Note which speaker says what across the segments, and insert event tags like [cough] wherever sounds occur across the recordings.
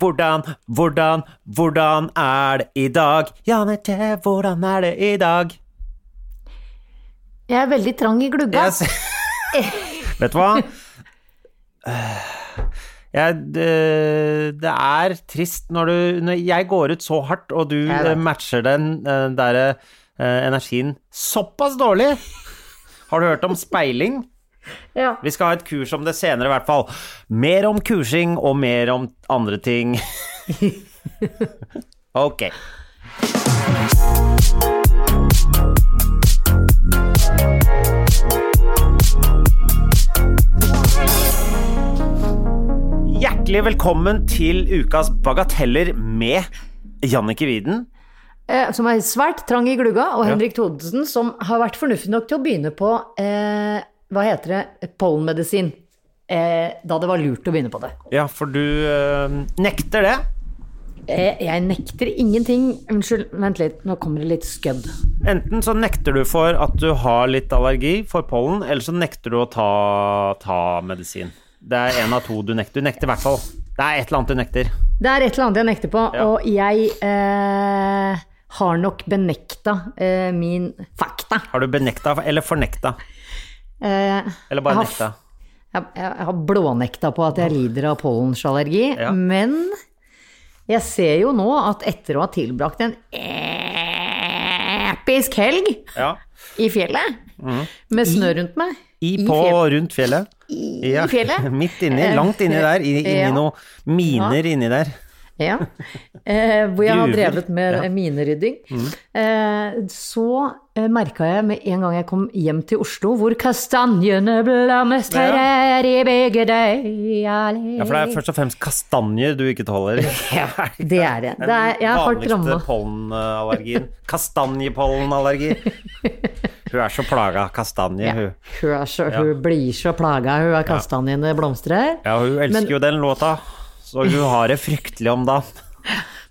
Speaker 1: Hvordan, hvordan, hvordan er det i dag? Ja, men det, hvordan er det i dag?
Speaker 2: Jeg er veldig trang i glugga. [laughs]
Speaker 1: Jeg ser- Vet du hva? Jeg, det, det er trist når du Når jeg går ut så hardt, og du
Speaker 2: Jeg vet.
Speaker 1: eh, matcher den eh, der eh, energien såpass dårlig. Har du hørt om speiling?
Speaker 2: Ja.
Speaker 1: Vi skal ha et kurs om det senere, i hvert fall. Mer om kursing og mer om andre ting. ok. Hjertelig velkommen til ukas Bagateller med Jannicke Widen.
Speaker 2: Eh, Som er svært trang i glugga, og Henrik Thodesen, som har vært fornuftig nok til å begynne på eh, Hva heter det? Pollenmedisin. Eh, da det var lurt å begynne på det.
Speaker 1: Ja, for du eh, nekter det.
Speaker 2: Eh, jeg nekter ingenting Unnskyld, vent litt, nå kommer det litt skødd.
Speaker 1: Enten så nekter du for at du har litt allergi for pollen, eller så nekter du å ta, ta medisin. Det er en av to du nekter. Du nekter i hvert fall. Det er et eller annet du nekter.
Speaker 2: Det er et eller annet jeg nekter på,
Speaker 1: Ja.
Speaker 2: og jeg eh, har nok benekta eh, min fakta.
Speaker 1: Har du benekta eller fornekta?
Speaker 2: Eh,
Speaker 1: Eller bare
Speaker 2: jeg har
Speaker 1: nekta?
Speaker 2: Jeg, jeg, jeg har blånekta på at jeg lider av pollensallergi,
Speaker 1: Ja.
Speaker 2: men jeg ser jo nå at etter å ha tilbrakt en episk helg
Speaker 1: Ja.
Speaker 2: i fjellet, med snø rundt meg
Speaker 1: Mhm. I,
Speaker 2: I
Speaker 1: på
Speaker 2: fjellet.
Speaker 1: rundt fjellet.
Speaker 2: I- i fjellet?
Speaker 1: [laughs]
Speaker 2: Eh,
Speaker 1: Midt inni, langt inni der. i- Inni
Speaker 2: Ja.
Speaker 1: noen miner inni der.
Speaker 2: ja. eh, Hvor jeg har
Speaker 1: Gruver. Mhm.
Speaker 2: drevet med minerydding. Eh, så eh, merka jeg med en gang jeg kom hjem til Oslo, hvor kastanjene blomstrer i begge døy
Speaker 1: Ja, for det er først og fremst kastanjer du ikke
Speaker 2: [laughs]
Speaker 1: tåler. Ja,
Speaker 2: Det er det. det er, jeg har hardt ramma.
Speaker 1: vanligste pollenallergien. Kastanjepollenallergi.
Speaker 2: [laughs]
Speaker 1: Hun er så plaga av kastanjer,
Speaker 2: Ja.
Speaker 1: hun.
Speaker 2: Hun, er så, hun blir så plaga, hun er kastanjene blomstrer.
Speaker 1: Ja, hun elsker
Speaker 2: Men-
Speaker 1: jo den låta, så hun har det fryktelig om dagen.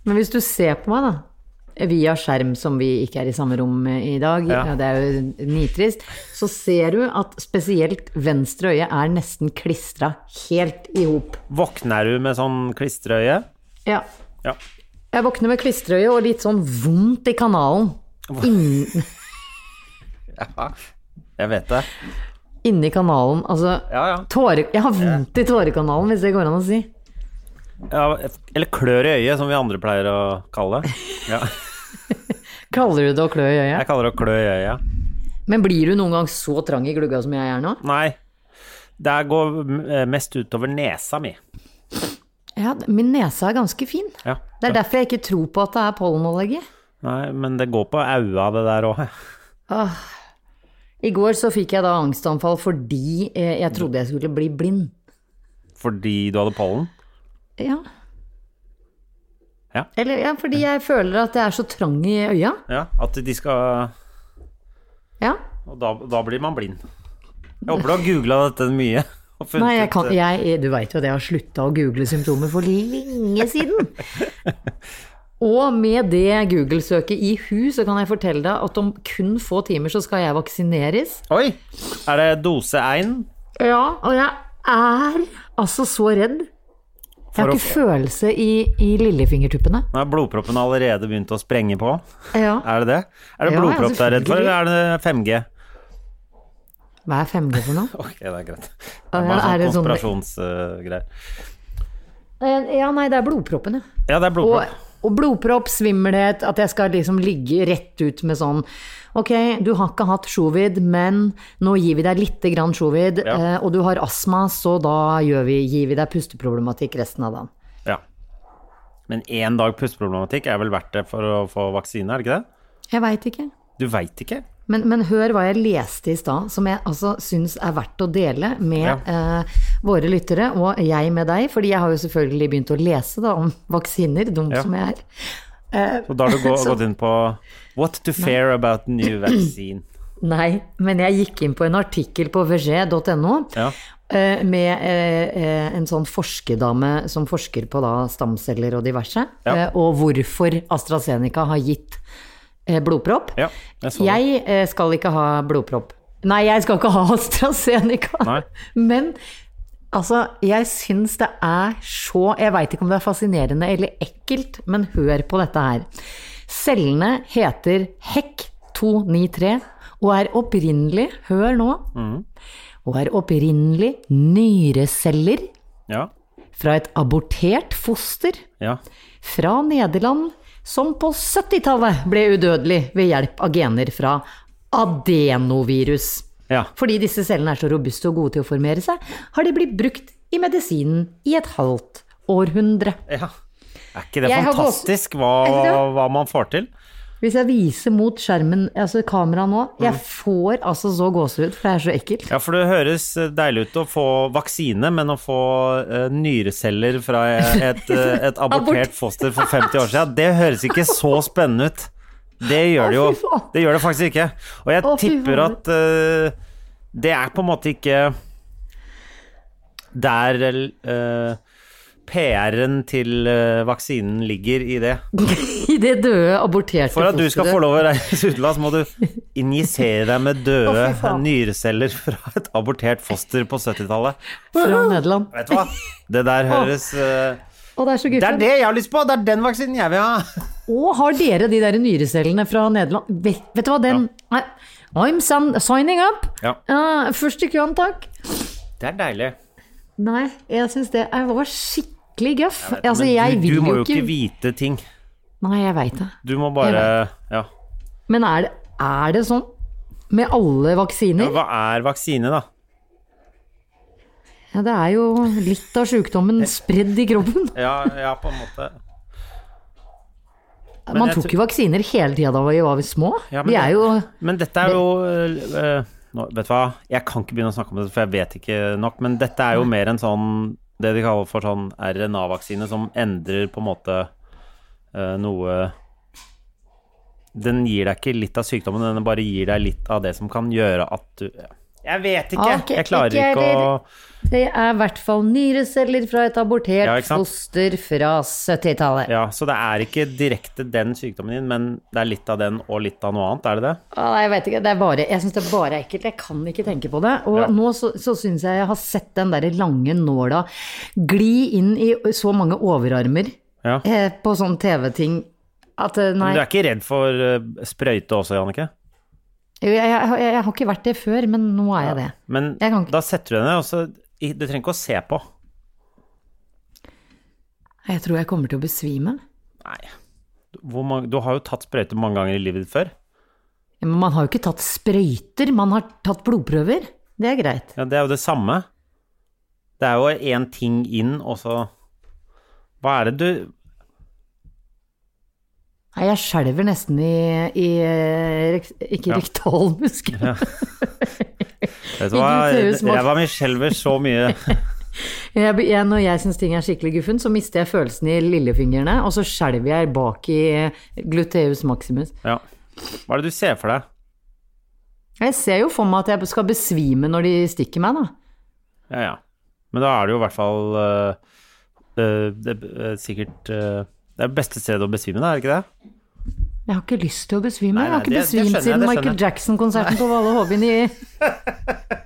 Speaker 2: Men hvis du ser på meg, da, via skjerm som vi ikke er i samme rom med i dag,
Speaker 1: Ja.
Speaker 2: og det er jo nitrist, så ser du at spesielt venstre øye er nesten klistra helt i hop.
Speaker 1: Våkner hun med sånn klisterøye?
Speaker 2: Ja.
Speaker 1: Ja.
Speaker 2: Jeg våkner med klisterøye og litt sånn vondt i kanalen. Inn,
Speaker 1: Jeg vet det.
Speaker 2: inni kanalen, altså
Speaker 1: Ja, ja.
Speaker 2: tåre, Jeg har vondt i tårekanalen, hvis det går an å si.
Speaker 1: ja eller klør i øyet, som vi andre pleier å kalle det. Ja.
Speaker 2: Kaller du det å klø i øyet?
Speaker 1: Jeg kaller det å klø i øyet.
Speaker 2: Men blir du noen gang så trang i glugga som jeg er nå?
Speaker 1: Nei, det går eh, mest utover nesa mi.
Speaker 2: Ja, min nese er ganske fin.
Speaker 1: Ja.
Speaker 2: Det er derfor jeg ikke tror på at det er pollenallergi.
Speaker 1: Nei, men det går på aua, det der òg.
Speaker 2: I går så fikk jeg da angstanfall fordi eh, jeg trodde jeg skulle bli blind.
Speaker 1: Fordi du hadde pollen?
Speaker 2: Ja.
Speaker 1: Ja.
Speaker 2: Eller ja, fordi jeg føler at jeg er så trang i øya.
Speaker 1: Ja, at de skal
Speaker 2: Ja.
Speaker 1: Og da, da blir man blind. Jeg håper du har googla dette mye. og funnet
Speaker 2: Nei, jeg kan,
Speaker 1: ut, eh,
Speaker 2: jeg, du veit jo at jeg har slutta å google symptomer for lenge
Speaker 1: [laughs]
Speaker 2: siden. Og med det Google-søket i hu, så kan jeg fortelle deg at om kun få timer så skal jeg vaksineres.
Speaker 1: Oi! Er det dose én?
Speaker 2: Ja, og jeg er altså så redd. Jeg har
Speaker 1: For å
Speaker 2: ikke følelse i, i lillefingertuppene.
Speaker 1: Nå har blodproppen allerede begynt å sprenge på.
Speaker 2: Ja.
Speaker 1: Er det det? Er det
Speaker 2: Ja,
Speaker 1: blodpropp du er redd for,
Speaker 2: selvfølgelig.
Speaker 1: eller er det 5G?
Speaker 2: Hva er 5G for noe?
Speaker 1: Ok, det er greit. Det
Speaker 2: Ja,
Speaker 1: er bare
Speaker 2: er
Speaker 1: sånn
Speaker 2: det sånn-
Speaker 1: konspirasjonsgreier.
Speaker 2: [laughs] Eh, Ja, nei, det er blodproppen, ja.
Speaker 1: ja, det er
Speaker 2: Og,
Speaker 1: blodpropp.
Speaker 2: og blodpropp, svimmelhet, at jeg skal liksom ligge rett ut med sånn Ok, du har ikke hatt sjovid, men nå gir vi deg lite grann sjovid,
Speaker 1: Ja.
Speaker 2: eh, og du har astma, så da gjør vi, gir vi deg pusteproblematikk resten av dagen.
Speaker 1: Ja. Men én dag pusteproblematikk er vel verdt det for å få vaksine, er det ikke det?
Speaker 2: Jeg veit ikke.
Speaker 1: Du veit ikke?
Speaker 2: Men, men hør hva jeg leste i stad, som jeg altså syns er verdt å dele med eh, våre lyttere, og jeg med deg, fordi jeg har jo selvfølgelig begynt å lese da, om vaksiner, dum
Speaker 1: Ja.
Speaker 2: som jeg er.
Speaker 1: Så da har
Speaker 2: [laughs]
Speaker 1: du gå, gått inn på What to fear about new vaccine.
Speaker 2: Nei, men jeg gikk inn på en artikkel på vg.no
Speaker 1: Ja.
Speaker 2: eh, med eh, eh, en sånn forskerdame som forsker på da stamceller og diverse,
Speaker 1: Ja.
Speaker 2: eh, og hvorfor AstraZeneca har gitt eh, blodpropp.
Speaker 1: Ja, jeg så det.
Speaker 2: Jeg eh, skal ikke ha blodpropp. Nei, jeg skal ikke ha AstraZeneca.
Speaker 1: Nei.
Speaker 2: [laughs] Men altså, jeg syns det er så Jeg veit ikke om det er fascinerende eller ekkelt, men hør på dette her. Cellene heter HEK293 og er opprinnelig, hør nå, og er opprinnelig nyreceller
Speaker 1: Ja.
Speaker 2: fra et abortert foster
Speaker 1: Ja.
Speaker 2: fra Nederland, som på 70-tallet ble udødelig ved hjelp av gener fra adenovirus.
Speaker 1: Ja.
Speaker 2: Fordi disse cellene er så robuste og gode til å formere seg, har de blitt brukt i medisinen i et halvt århundre.
Speaker 1: ja. Er ikke det
Speaker 2: Jeg har gått-
Speaker 1: fantastisk hva,
Speaker 2: Er det det?
Speaker 1: hva man får til?
Speaker 2: Hvis jeg viser mot skjermen, altså kameraet nå,
Speaker 1: Mm.
Speaker 2: jeg får altså så gåsehud, for det er så ekkelt. [laughs]
Speaker 1: Ja, for det høres eh, deilig ut å få vaksine, men å få eh, nyreceller fra et,
Speaker 2: [laughs]
Speaker 1: eh, et abortert foster for 50 år siden, det høres ikke så spennende ut. Det gjør det jo.
Speaker 2: Å, fy faen.
Speaker 1: Det gjør det faktisk ikke. Og jeg
Speaker 2: Å, fy
Speaker 1: tipper
Speaker 2: faen.
Speaker 1: at eh, det er på en måte ikke der eh, PR-en til eh, vaksinen ligger i det.
Speaker 2: I det døde, aborterte
Speaker 1: For at du skal få
Speaker 2: fosteret.
Speaker 1: lov å reise utenlands, må du injisere deg med døde
Speaker 2: Å, fy faen.
Speaker 1: nyreceller fra et abortert foster på 70-tallet.
Speaker 2: Fra Nederland.
Speaker 1: Vet du hva? Det der høres eh,
Speaker 2: Og det er så
Speaker 1: Det er
Speaker 2: guffen.
Speaker 1: det jeg har lyst på! Det er den vaksinen jeg vil ha!
Speaker 2: Og har dere de der nyrecellene fra Nederland? Vet, vet du hva, den Nei, I'm san- signing up!
Speaker 1: Ja.
Speaker 2: Ja, først i køen, takk.
Speaker 1: Det er deilig.
Speaker 2: Nei, jeg syns det er, var skikkelig gøff. altså,
Speaker 1: Men
Speaker 2: jeg
Speaker 1: du,
Speaker 2: vil
Speaker 1: du må
Speaker 2: jo ikke
Speaker 1: vite ting.
Speaker 2: Nei, jeg veit det.
Speaker 1: Du må bare Ja.
Speaker 2: Men er det, er det sånn med alle vaksiner?
Speaker 1: Hva er vaksine, da?
Speaker 2: Ja, det er jo litt av
Speaker 1: Eh,
Speaker 2: sjukdommen spredd i kroppen.
Speaker 1: Ja, ja på en måte.
Speaker 2: Man
Speaker 1: jeg
Speaker 2: tok jo vaksiner hele tida da vi var små.
Speaker 1: Ja, men
Speaker 2: vi er
Speaker 1: det-
Speaker 2: jo
Speaker 1: Men dette er jo eh, eh, nå, Vet du hva, jeg kan ikke begynne å snakke om dette, for jeg vet ikke nok. Men dette er jo mer en sånn Det de kaller for sånn RNA-vaksine, som endrer på en måte eh, noe Den gir deg ikke litt av sykdommen, den bare gir deg litt av det som kan gjøre at du Jeg vet ikke!
Speaker 2: Ah, ok,
Speaker 1: jeg klarer
Speaker 2: ikke
Speaker 1: ikke å
Speaker 2: Det er i hvert fall nyreceller fra et abortert
Speaker 1: Ja, ikke sant?
Speaker 2: foster fra 70-tallet.
Speaker 1: Ja, så det er ikke direkte den sykdommen din, men det er litt av den og litt av noe annet, er det det?
Speaker 2: Å, Nei, jeg vet ikke. Det er bare, jeg syns det er bare ekkelt. Jeg kan ikke tenke på det. Og
Speaker 1: Ja.
Speaker 2: nå så, så syns jeg jeg har sett den derre lange nåla gli inn i så mange overarmer
Speaker 1: Ja.
Speaker 2: eh, på sånn TV-ting at eh, nei.
Speaker 1: Men du er ikke redd for eh, sprøyte også, Jannicke?
Speaker 2: Jo, Jeg, jeg, jeg, jeg har ikke vært det før, men nå er jeg det.
Speaker 1: Men
Speaker 2: Jeg kan ikke-
Speaker 1: da setter du deg ned, og så i- Du trenger ikke å se på.
Speaker 2: Jeg tror jeg kommer til å besvime.
Speaker 1: Nei. Hvor mange, du har jo tatt sprøyte mange ganger i livet ditt før.
Speaker 2: Ja, Men man har jo ikke tatt sprøyter, man har tatt blodprøver. Det er greit.
Speaker 1: Ja, det er jo det samme. Det er jo én ting inn, og så Hva er det du
Speaker 2: Nei, jeg skjelver nesten i, i eh, rek- ikke
Speaker 1: Ja.
Speaker 2: rektalmuskel.
Speaker 1: Vet du hva,
Speaker 2: Ikke tøys, Morten.
Speaker 1: ræva mi skjelver så mye.
Speaker 2: [laughs] Jeg, be- jeg, når jeg syns ting er skikkelig guffen, så mister jeg følelsen i lillefingrene, og så skjelver jeg bak i eh, gluteus maximus.
Speaker 1: Ja. Hva er det du ser for deg?
Speaker 2: Jeg ser jo for meg at jeg skal besvime når de stikker meg, da.
Speaker 1: Ja, ja. Men da er det jo i hvert fall øh, øh, det, øh, sikkert øh, Det er det beste stedet å besvime, da, er det ikke det?
Speaker 2: Jeg har ikke lyst til å besvime.
Speaker 1: Nei,
Speaker 2: jeg har
Speaker 1: nei,
Speaker 2: ikke
Speaker 1: det- det skjønner
Speaker 2: besvimt
Speaker 1: jeg,
Speaker 2: siden
Speaker 1: det
Speaker 2: Michael
Speaker 1: skjønner jeg.
Speaker 2: Jackson-konserten på Valle Hovin i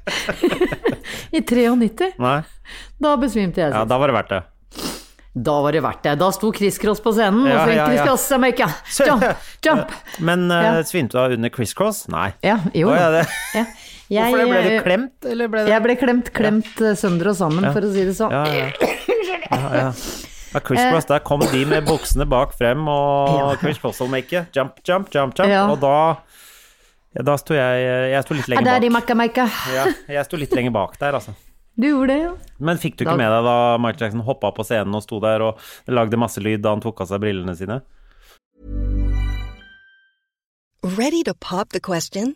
Speaker 1: [laughs]
Speaker 2: I 93.
Speaker 1: Nei?
Speaker 2: Da besvimte jeg.
Speaker 1: Ja,
Speaker 2: sist.
Speaker 1: da var det verdt det.
Speaker 2: Da var det verdt det. Da sto Chris Cross på scenen,
Speaker 1: Ja,
Speaker 2: og så
Speaker 1: ja,
Speaker 2: gikk Chris
Speaker 1: ja.
Speaker 2: Cross Jamaica.
Speaker 1: [laughs]
Speaker 2: Jump, jump.
Speaker 1: Men øh,
Speaker 2: Ja.
Speaker 1: svimte du av under crisscross? Nei.
Speaker 2: Ja, jo.
Speaker 1: Å, ja, det.
Speaker 2: [laughs] Ja.
Speaker 1: Hvorfor det? Ble
Speaker 2: Jeg- eh,
Speaker 1: du klemt, eller ble det
Speaker 2: Jeg ble klemt, klemt eh, sønder og sammen, for å si det sånn.
Speaker 1: Ja, ja. ja, ja. ja Chris
Speaker 2: Eh.
Speaker 1: Cross, der kom de med buksene bak frem, og Chris Postle-make. Jump, jump, jump, jump.
Speaker 2: Ja.
Speaker 1: Og da ja, Da sto jeg Jeg sto litt
Speaker 2: Ja,
Speaker 1: lenger
Speaker 2: det er de
Speaker 1: bak.
Speaker 2: makka-makka.
Speaker 1: Ja, jeg sto litt lenger bak der, altså.
Speaker 2: Du gjorde det, ja.
Speaker 1: Men fikk du
Speaker 2: Da-
Speaker 1: ikke med deg da Michael Jackson hoppa på scenen og sto der og lagde masse lyd da han tok av seg brillene sine?
Speaker 3: Ready to pop the question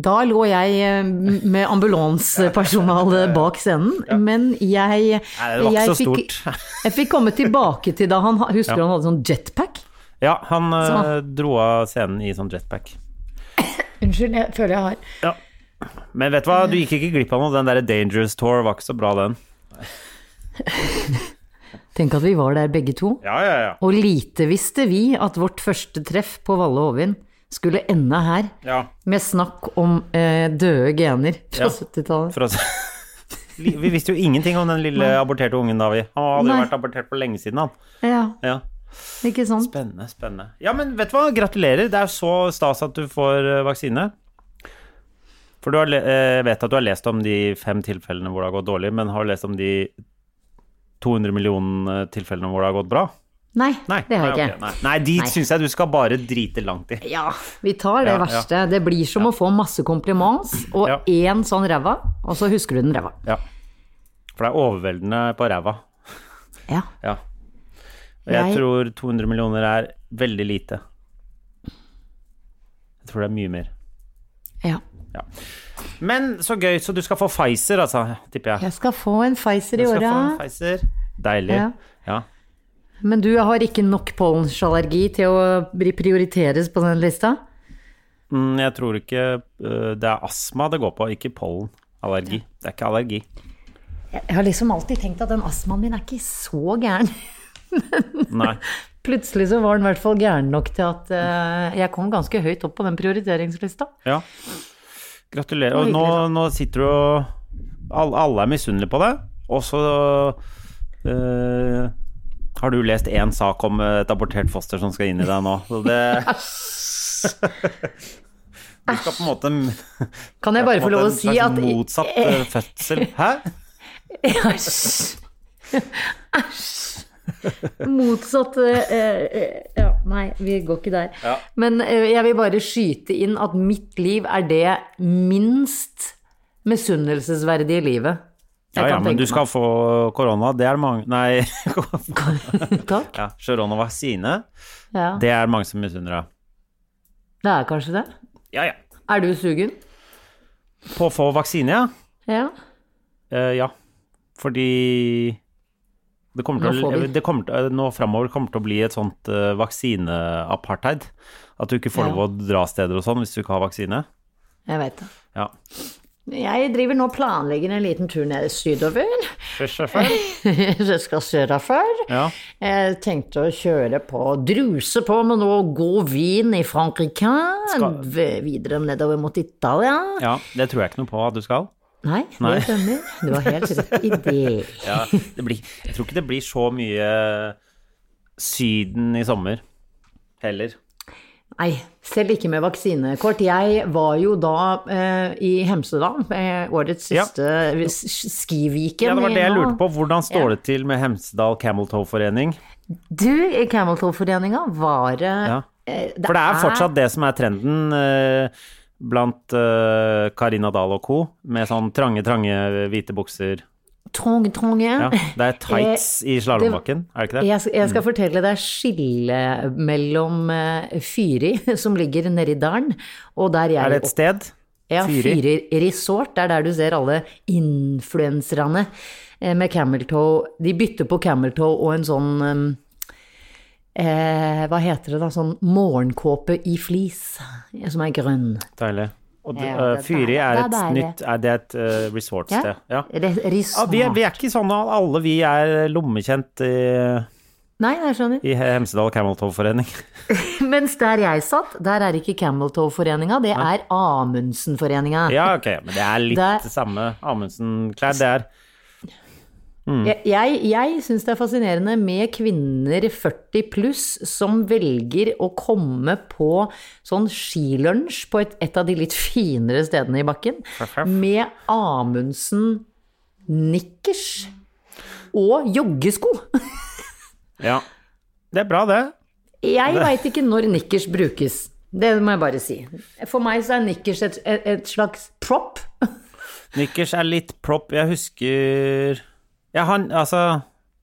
Speaker 2: Da lå jeg eh, med
Speaker 1: [laughs]
Speaker 2: ambulansepersonale bak scenen, men jeg
Speaker 1: Nei, det var ikke
Speaker 2: jeg
Speaker 1: så
Speaker 2: fikk-
Speaker 1: stort.
Speaker 2: [laughs] Jeg fikk komme tilbake til da han ha- Husker du han hadde sånn jetpack?
Speaker 1: [laughs] Ja, han eh,
Speaker 2: Sånn.
Speaker 1: dro av scenen i sånn jetpack.
Speaker 2: Unnskyld, jeg føler jeg har
Speaker 1: Men vet du hva, du gikk ikke glipp av noe. Den derre Dangerous Tour var ikke så bra, den.
Speaker 2: Tenk at vi var der begge to.
Speaker 1: Ja, ja, ja.
Speaker 2: Og lite visste vi at vårt første treff på Valle Hovin skulle ende her,
Speaker 1: ja.
Speaker 2: med snakk om eh, døde gener fra
Speaker 1: Ja.
Speaker 2: 70-tallet.
Speaker 1: For oss. Li- Vi visste jo ingenting om den lille aborterte ungen da, vi. Han hadde jo
Speaker 2: Nei.
Speaker 1: vært abortert for lenge siden, han.
Speaker 2: Ja,
Speaker 1: Ja.
Speaker 2: ikke sant?
Speaker 1: Spennende, spennende. Ja, men vet du hva, gratulerer. Det er så stas at du får eh, vaksine. For du har, le- eh, vet at du har lest om de fem tilfellene hvor det har gått dårlig, men har du lest om de 200 millioner eh, tilfellene hvor det har gått bra?
Speaker 2: Nei,
Speaker 1: Nei,
Speaker 2: det har
Speaker 1: nei,
Speaker 2: jeg
Speaker 1: ok,
Speaker 2: ikke.
Speaker 1: nei. nei de
Speaker 2: Nei.
Speaker 1: syns jeg du skal bare drite langt i.
Speaker 2: Ja, vi tar det
Speaker 1: Ja, ja.
Speaker 2: verste. Det blir som å få masse kompliments og
Speaker 1: Ja.
Speaker 2: én sånn ræva, og så husker du den ræva.
Speaker 1: Ja. For det er overveldende på ræva.
Speaker 2: Ja.
Speaker 1: Ja. Og jeg
Speaker 2: Jeg-
Speaker 1: tror 200 millioner er veldig lite. Jeg tror det er mye mer.
Speaker 2: ja.
Speaker 1: Ja. Men så gøy, så du skal få Pfizer, altså, tipper jeg.
Speaker 2: Jeg skal få en Pfizer
Speaker 1: Du
Speaker 2: i
Speaker 1: skal få en
Speaker 2: åra.
Speaker 1: Pfizer. Deilig.
Speaker 2: Ja.
Speaker 1: Ja.
Speaker 2: Men du har ikke nok pollenallergi til å bli prioriteres på den lista?
Speaker 1: Mm, jeg tror ikke øh, Det er astma det går på, ikke pollenallergi. Det er ikke allergi.
Speaker 2: Jeg har liksom alltid tenkt at den astmaen min er ikke så gæren.
Speaker 1: Nei.
Speaker 2: [laughs] Plutselig så var den i hvert fall gæren nok til at eh, jeg kom ganske høyt opp på den prioriteringslista.
Speaker 1: Ja. Gratulerer.
Speaker 2: Det var
Speaker 1: Og nå,
Speaker 2: hyggelig,
Speaker 1: nå sitter du og alle, alle er misunnelige på deg, og så øh, har du lest én sak om et abortert foster som skal inn i deg nå. Så det
Speaker 2: [laughs]
Speaker 1: Du skal på en måte
Speaker 2: Kan jeg bare få lov å si
Speaker 1: En
Speaker 2: at
Speaker 1: slags motsatt øh,
Speaker 2: [laughs]
Speaker 1: fødsel. Hæ?
Speaker 2: Æsj! Æsj! Motsatt eh, eh, Ja, nei, vi går ikke der.
Speaker 1: Ja.
Speaker 2: Men eh, jeg vil bare skyte inn at mitt liv er det minst misunnelsesverdige livet. jeg
Speaker 1: Ja, ja,
Speaker 2: kan
Speaker 1: men
Speaker 2: tenke
Speaker 1: du
Speaker 2: meg.
Speaker 1: skal få korona. Det er det mange Nei, [laughs]
Speaker 2: Takk.
Speaker 1: ja, koronavaksine.
Speaker 2: Ja, det...
Speaker 1: Det er det mange som misunner deg.
Speaker 2: er kanskje det.
Speaker 1: Ja, ja.
Speaker 2: Er du sugen?
Speaker 1: På å få vaksine, ja.
Speaker 2: Ja.
Speaker 1: Eh, ja, fordi det kommer
Speaker 2: Nå
Speaker 1: til,
Speaker 2: får
Speaker 1: å-
Speaker 2: vi.
Speaker 1: det kommer til, eh, nå framover kommer til å bli et sånt eh, vaksineapartheid. At du ikke får
Speaker 2: Ja.
Speaker 1: lov å dra steder og sånn hvis du ikke har vaksine.
Speaker 2: Jeg veit det.
Speaker 1: Ja.
Speaker 2: Jeg driver nå og planlegger en liten tur ned sydover. [laughs] Jeg skal sørafor.
Speaker 1: Ja.
Speaker 2: Jeg tenkte å kjøre på, druse på med noe god vin i Frankrike,
Speaker 1: Skal-
Speaker 2: v- videre nedover mot Italia.
Speaker 1: ja, det tror jeg ikke noe på at du skal.
Speaker 2: Nei,
Speaker 1: Nei.
Speaker 2: det stemmer. Du har helt rett i det.
Speaker 1: [laughs] Ja, det blir, jeg tror ikke det blir så mye Syden i sommer heller.
Speaker 2: Nei, selv ikke med vaksinekort. Jeg var jo da eh, i Hemsedal, eh, årets
Speaker 1: Ja.
Speaker 2: siste eh, s- skiviken.
Speaker 1: Ja, det var det jeg
Speaker 2: i-
Speaker 1: lurte på. Hvordan står det til med Hemsedal Camel Toe Forening?
Speaker 2: Du, i Cameltoe-foreninga var det
Speaker 1: Ja.
Speaker 2: eh,
Speaker 1: For det er fortsatt det som er trenden eh, blant eh, Karina Dahl og co. Med sånn trange, trange hvite bukser.
Speaker 2: Trang, trang,
Speaker 1: Ja, det er tights i slalåmbakken, er Eh, det ikke det?
Speaker 2: Jeg, skal- jeg skal fortelle deg skillet mellom eh, Fyri, [laughs] som ligger nedi dalen, og der jeg
Speaker 1: Er det et sted?
Speaker 2: Ja,
Speaker 1: Fyri?
Speaker 2: Fyri Resort. Det er der du ser alle influenserne eh, med Cameltoe. De bytter på Cameltoe og en sånn eh, eh, hva heter det da, sånn morgenkåpe i flis, eh, som er grønn.
Speaker 1: Deilig. Og det,
Speaker 2: Ja, det er
Speaker 1: eh, Fyri er
Speaker 2: deilig.
Speaker 1: et
Speaker 2: Det er deilig.
Speaker 1: nytt Er det et eh, resortsted? Ja.
Speaker 2: Re-
Speaker 1: Ja,
Speaker 2: Resort.
Speaker 1: vi, er, vi er ikke sånn at alle vi er lommekjent i,
Speaker 2: Nei, jeg skjønner.
Speaker 1: i Hemsedal Cameltoe-forening.
Speaker 2: Mens der jeg satt, der er ikke Cameltoe-foreninga, det er Amundsen-foreninga.
Speaker 1: [laughs] Ja, ok, men det er litt
Speaker 2: Det-
Speaker 1: det samme Amundsen-klær. Det er
Speaker 2: Jeg, jeg, jeg syns det er fascinerende med kvinner 40 pluss som velger å komme på sånn skilunsj på et, et av de litt finere stedene i bakken, med Amundsen-nikkers og joggesko.
Speaker 1: Ja. Det er bra, det.
Speaker 2: Jeg veit ikke når nikkers brukes. Det må jeg bare si. For meg så er nikkers et, et, et slags prop.
Speaker 1: Nikkers er litt prop. Jeg husker Ja, han Altså,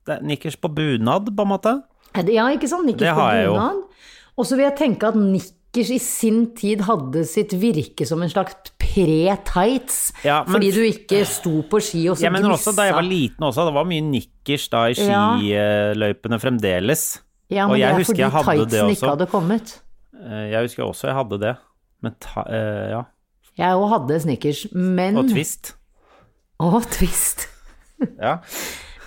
Speaker 1: det er nikkers på bunad, på en måte.
Speaker 2: Ja, ikke sant? Nikkers
Speaker 1: Det har jeg
Speaker 2: på
Speaker 1: jo.
Speaker 2: bunad. Og så vil jeg tenke at nikkers i sin tid hadde sitt virke som en slags pre-tights,
Speaker 1: Ja, men-
Speaker 2: fordi du ikke sto på ski og så
Speaker 1: Ja, men også da jeg var
Speaker 2: glissa.
Speaker 1: liten også, det var mye nikkers da i
Speaker 2: Ja.
Speaker 1: skiløypene fremdeles.
Speaker 2: Ja,
Speaker 1: og
Speaker 2: men det
Speaker 1: jeg
Speaker 2: er
Speaker 1: husker
Speaker 2: fordi
Speaker 1: jeg hadde det
Speaker 2: tightsen ikke
Speaker 1: også.
Speaker 2: hadde kommet.
Speaker 1: Eh, Jeg husker også jeg hadde det. Men ta, eh, ja.
Speaker 2: Jeg òg hadde snickers, men
Speaker 1: Og
Speaker 2: [laughs]
Speaker 1: twist.
Speaker 2: Å, twist.
Speaker 1: Ja.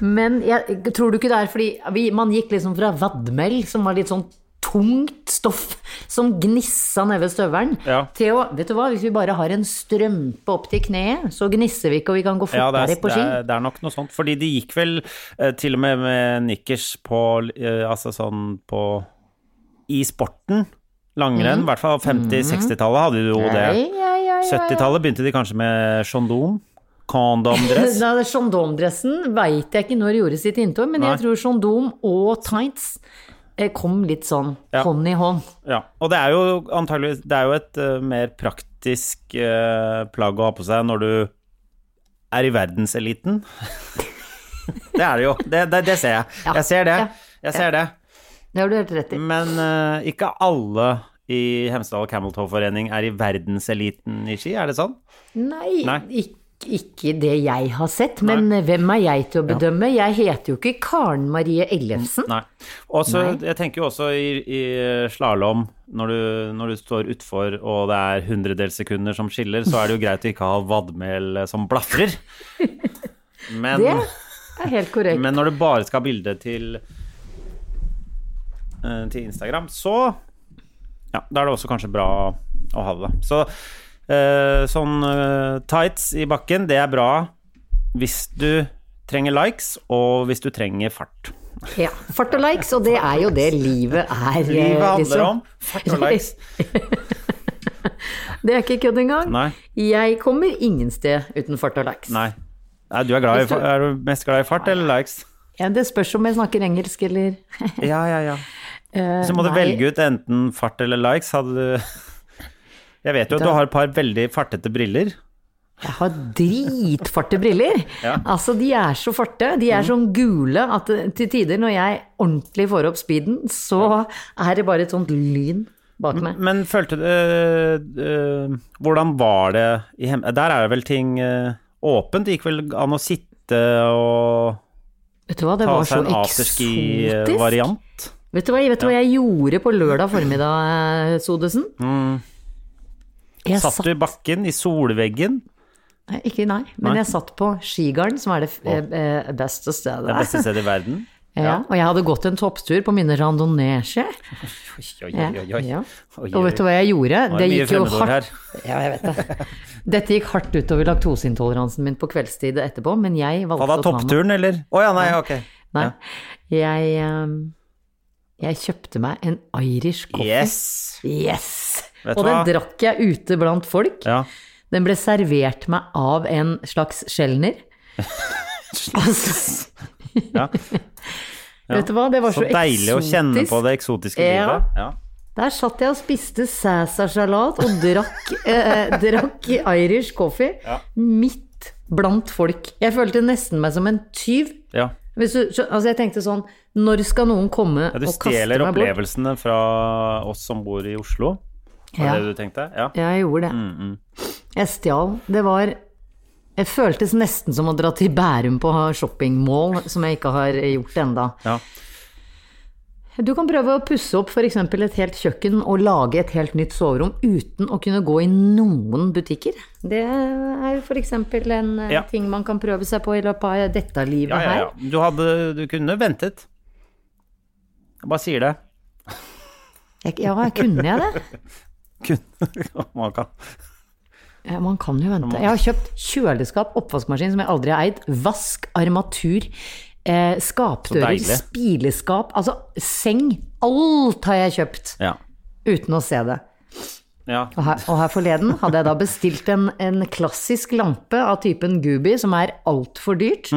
Speaker 2: Men jeg, tror du ikke det er fordi vi, man gikk liksom fra vadmel, som var litt sånn tungt stoff som gnissa ned ved støvelen,
Speaker 1: Ja.
Speaker 2: til å Vet du hva, hvis vi bare har en strømpe opp til kneet, så gnisser vi ikke, og vi kan gå
Speaker 1: Ja, det
Speaker 2: fortere
Speaker 1: er,
Speaker 2: på
Speaker 1: det,
Speaker 2: ski.
Speaker 1: er, det er nok noe sånt. Fordi de gikk vel eh, til og med med nikkers på eh, Altså sånn på I sporten.
Speaker 2: Mm.
Speaker 1: Langrenn. I hvert fall 50-60-tallet hadde jo det.
Speaker 2: Ei, ei, ei, ei.
Speaker 1: 70-tallet begynte de kanskje med kondom. Kondomdress.
Speaker 2: [laughs] Da, Sjondom-dressen veit jeg ikke når gjorde sitt inntog, men
Speaker 1: Nei.
Speaker 2: jeg tror sjondom og tights eh, kom litt sånn
Speaker 1: Ja.
Speaker 2: hånd i hånd.
Speaker 1: Ja. Og det er jo antageligvis Det er jo et eh, mer praktisk eh, plagg å ha på seg når du er i verdenseliten. [laughs] det er det jo. Det, det, det ser jeg.
Speaker 2: Ja.
Speaker 1: Jeg ser det.
Speaker 2: Ja.
Speaker 1: Jeg ser det.
Speaker 2: Det har du helt rett i.
Speaker 1: Men eh, ikke alle i Hemsedal Cameltoe-forening er i verdenseliten i ski, er det sånn?
Speaker 2: Nei,
Speaker 1: Nei.
Speaker 2: Ikke, ikke det jeg har sett, men hvem er jeg til å bedømme? Jeg heter jo ikke Karen Marie Ellefsen.
Speaker 1: Nei. Og så, jeg tenker jo også i, i slalåm, når, du- når du står utfor og det er hundredelssekunder som skiller, så er det jo greit å ikke ha vadmel eh, som blafrer. Men,
Speaker 2: Det er helt korrekt.
Speaker 1: men når du bare skal ha bilde til, eh, til Instagram, så Ja, da er det også kanskje bra å ha det, da. Så eh, sånn eh, tights i bakken, det er bra hvis du trenger likes, og hvis du trenger fart.
Speaker 2: Ja, fart og likes, og det er jo det livet er. eh,
Speaker 1: Livet handler
Speaker 2: liksom.
Speaker 1: om fart og
Speaker 2: [laughs]
Speaker 1: likes.
Speaker 2: Det er ikke kødd engang.
Speaker 1: Nei.
Speaker 2: Jeg kommer ingen sted uten fart og likes.
Speaker 1: Nei. Nei, du er, glad i, fa- er du mest glad i fart eller likes?
Speaker 2: Ja, det spørs om jeg snakker engelsk eller
Speaker 1: Ja, ja, ja. Så må du
Speaker 2: Eh, nei.
Speaker 1: velge ut enten fart eller likes. Hadde du [laughs] Jeg vet jo at du har et par veldig fartete briller.
Speaker 2: Jeg har dritfarte briller. Altså, de er så farte. De
Speaker 1: Mm.
Speaker 2: er sånn gule at det- til tider når jeg ordentlig får opp speeden, så er det bare et sånt lyn bak meg.
Speaker 1: Men følte du øh, øh, Hvordan var det i hem... Der er det vel ting øh, åpent? Det gikk vel an å sitte og
Speaker 2: Vet du hva, det
Speaker 1: ta
Speaker 2: var så
Speaker 1: seg en eh,
Speaker 2: eksotisk.
Speaker 1: afterski-variant?
Speaker 2: Vet du hva, vet du hva jeg gjorde på lørdag formiddag, eh, Sodesen? Jeg
Speaker 1: Mm. Satt du i bakken, i solveggen?
Speaker 2: Nei, Ikke nei, men jeg satt på Skigarden, som er det f- eh, beste stedet.
Speaker 1: Det beste stedet i verden?
Speaker 2: ja. Og jeg hadde gått en topptur på mine randonee
Speaker 1: Oi, oi, oi, oi.
Speaker 2: [laughs] Ja.
Speaker 1: Oi,
Speaker 2: Og
Speaker 1: oi.
Speaker 2: vet du hva jeg gjorde?
Speaker 1: Nå er
Speaker 2: Det
Speaker 1: mye
Speaker 2: gikk jo
Speaker 1: fremmedord her.
Speaker 2: hardt [laughs] Ja, jeg vet det. Dette gikk hardt utover laktoseintoleransen min på kveldstid etterpå, men jeg
Speaker 1: Hva
Speaker 2: valgte
Speaker 1: da,
Speaker 2: å ta meg
Speaker 1: toppturen, eller? Å ja, nei, ok.
Speaker 2: Nei. Jeg, ehm, jeg kjøpte meg en Irish coffee.
Speaker 1: Yes!
Speaker 2: Yes!
Speaker 1: Vet du
Speaker 2: Og den
Speaker 1: hva?
Speaker 2: drakk jeg ute blant folk.
Speaker 1: Ja.
Speaker 2: Den ble servert meg av en slags
Speaker 1: [laughs]
Speaker 2: sjelner. [laughs] altså,
Speaker 1: ja.
Speaker 2: [laughs] Vet du hva, det var
Speaker 1: Så
Speaker 2: så,
Speaker 1: deilig å kjenne på det eksotiske
Speaker 2: Ja.
Speaker 1: livet. Ja.
Speaker 2: Der satt jeg og spiste Cæsar-salat og drakk, eh, drakk Irish coffee midt blant folk. Jeg følte nesten meg som en tyv.
Speaker 1: Ja.
Speaker 2: Hvis du, skjø- altså jeg tenkte sånn, når skal noen komme
Speaker 1: ja, du
Speaker 2: og kaste meg
Speaker 1: stjeler
Speaker 2: bort?
Speaker 1: opplevelsene fra oss som bor i Oslo. Var
Speaker 2: Ja.
Speaker 1: det du Mm, tenkte? Ja.
Speaker 2: Ja, jeg gjorde det. Jeg stjal. Det var Jeg føltes nesten som å dra til Bærum på shoppingmall, som jeg ikke har gjort enda.
Speaker 1: Ja.
Speaker 2: Du kan prøve å pusse opp f.eks. et helt kjøkken og lage et helt nytt soverom uten å kunne gå i noen butikker. Det er f.eks. en eh,
Speaker 1: Ja.
Speaker 2: ting man kan prøve seg på i løpet av dette livet
Speaker 1: Ja, ja, ja.
Speaker 2: her.
Speaker 1: Du, hadde, du kunne ventet. Jeg bare sier det.
Speaker 2: Jeg, ja, kunne jeg
Speaker 1: [laughs]
Speaker 2: det?
Speaker 1: Kun- Man kan.
Speaker 2: Ja, Man kan jo vente. Jeg har kjøpt kjøleskap, oppvaskmaskin som jeg aldri har eid, vask, armatur, eh, skapdører,
Speaker 1: deilig.
Speaker 2: spileskap, altså seng. Alt har jeg kjøpt
Speaker 1: Ja.
Speaker 2: uten å se det.
Speaker 1: ja.
Speaker 2: Og her, og her forleden hadde jeg da bestilt en, en klassisk lampe av typen Gubi, som er altfor dyrt.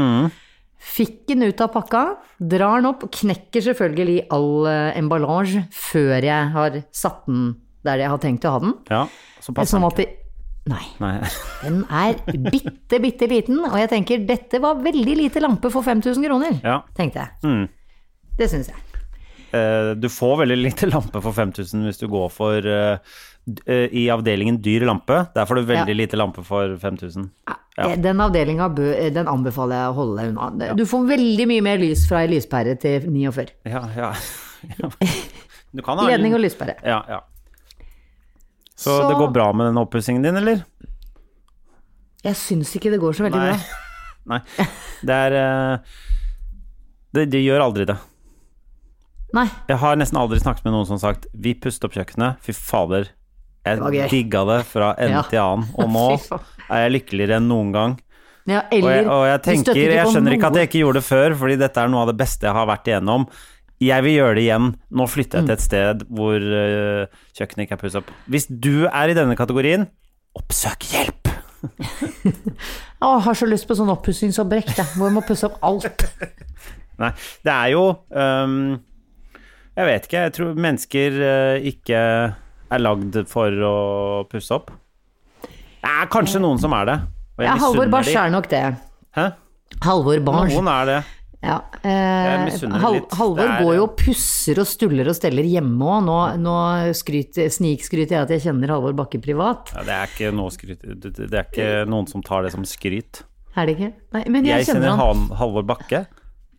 Speaker 2: Fikk den ut av pakka, drar den opp, og knekker selvfølgelig all eh, emballasje før jeg har satt den der jeg har tenkt å ha den.
Speaker 1: ja. Så passer
Speaker 2: Sånn
Speaker 1: den
Speaker 2: at det Nei.
Speaker 1: Nei. [laughs]
Speaker 2: Den er bitte, bitte liten, og jeg tenker dette var veldig lite lampe for 5000 kroner,
Speaker 1: Ja.
Speaker 2: tenkte jeg. Det syns jeg.
Speaker 1: Eh, Du får veldig lite lampe for 5000 hvis du går for eh, d- eh, i avdelingen dyr lampe. Der får du veldig lite lampe for 5000. Ja.
Speaker 2: Eh, Den avdelinga bø- eh, den anbefaler jeg å holde deg unna. Du får veldig mye mer lys fra ei lyspære til 49.
Speaker 1: Ja, ja.
Speaker 2: [laughs]
Speaker 1: ja. Du kan ha
Speaker 2: Ledning og lyspære.
Speaker 1: Ja, ja. Så,
Speaker 2: Så-
Speaker 1: det går bra med den oppussingen din, eller?
Speaker 2: Jeg syns ikke det går så veldig
Speaker 1: Nei.
Speaker 2: bra.
Speaker 1: [laughs] Nei. Det er eh, det, det gjør aldri det.
Speaker 2: Nei.
Speaker 1: Jeg har nesten aldri snakket med noen som har sagt Vi pusset opp kjøkkenet, fy fader
Speaker 2: var
Speaker 1: Jeg
Speaker 2: gøy.»
Speaker 1: digga det fra ende
Speaker 2: Ja.
Speaker 1: til annen
Speaker 2: [laughs]
Speaker 1: Og nå
Speaker 2: Fy faen.
Speaker 1: er jeg lykkeligere enn noen gang
Speaker 2: Ja,
Speaker 1: Og
Speaker 2: eller
Speaker 1: jeg, og jeg
Speaker 2: du
Speaker 1: tenker,
Speaker 2: støtter ikke
Speaker 1: jeg
Speaker 2: på
Speaker 1: skjønner ikke at
Speaker 2: noe.
Speaker 1: jeg ikke gjorde det før Fordi dette er noe av det beste jeg har vært igjennom Jeg vil gjøre det igjen Nå flytter jeg til
Speaker 2: Mm.
Speaker 1: et sted hvor øh, kjøkkenet ikke er pusset opp Hvis du er i denne kategorien Oppsøk hjelp
Speaker 2: Å, jeg har så lyst på sånn oppussingsobrekk, jeg. Hvor vi må pusse opp
Speaker 1: [laughs]
Speaker 2: alt.
Speaker 1: Nei, det er jo øhm, Jeg vet ikke, jeg tror mennesker øh, ikke er lagd for å pusse opp. Det er kanskje noen som er det. og jeg
Speaker 2: Ja, Halvor
Speaker 1: misunner
Speaker 2: Barsch
Speaker 1: de.
Speaker 2: er nok det.
Speaker 1: Hæ?
Speaker 2: Halvor Barsch.
Speaker 1: Noen er det.
Speaker 2: Ja,
Speaker 1: Jeg
Speaker 2: eh,
Speaker 1: misunner det
Speaker 2: Hal
Speaker 1: litt.
Speaker 2: Halvor
Speaker 1: Det er-
Speaker 2: går jo og pusser og stuller og steller hjemme òg. Nå, nå skryter- snikskryter jeg at jeg kjenner Halvor Bakke privat.
Speaker 1: Ja, det, er ikke noe skryt, det, det er ikke
Speaker 2: Eh.
Speaker 1: noen som tar det som skryt.
Speaker 2: Er det ikke? Nei, men jeg,
Speaker 1: Jeg kjenner
Speaker 2: kjenner han.
Speaker 1: han, Halvor Bakke.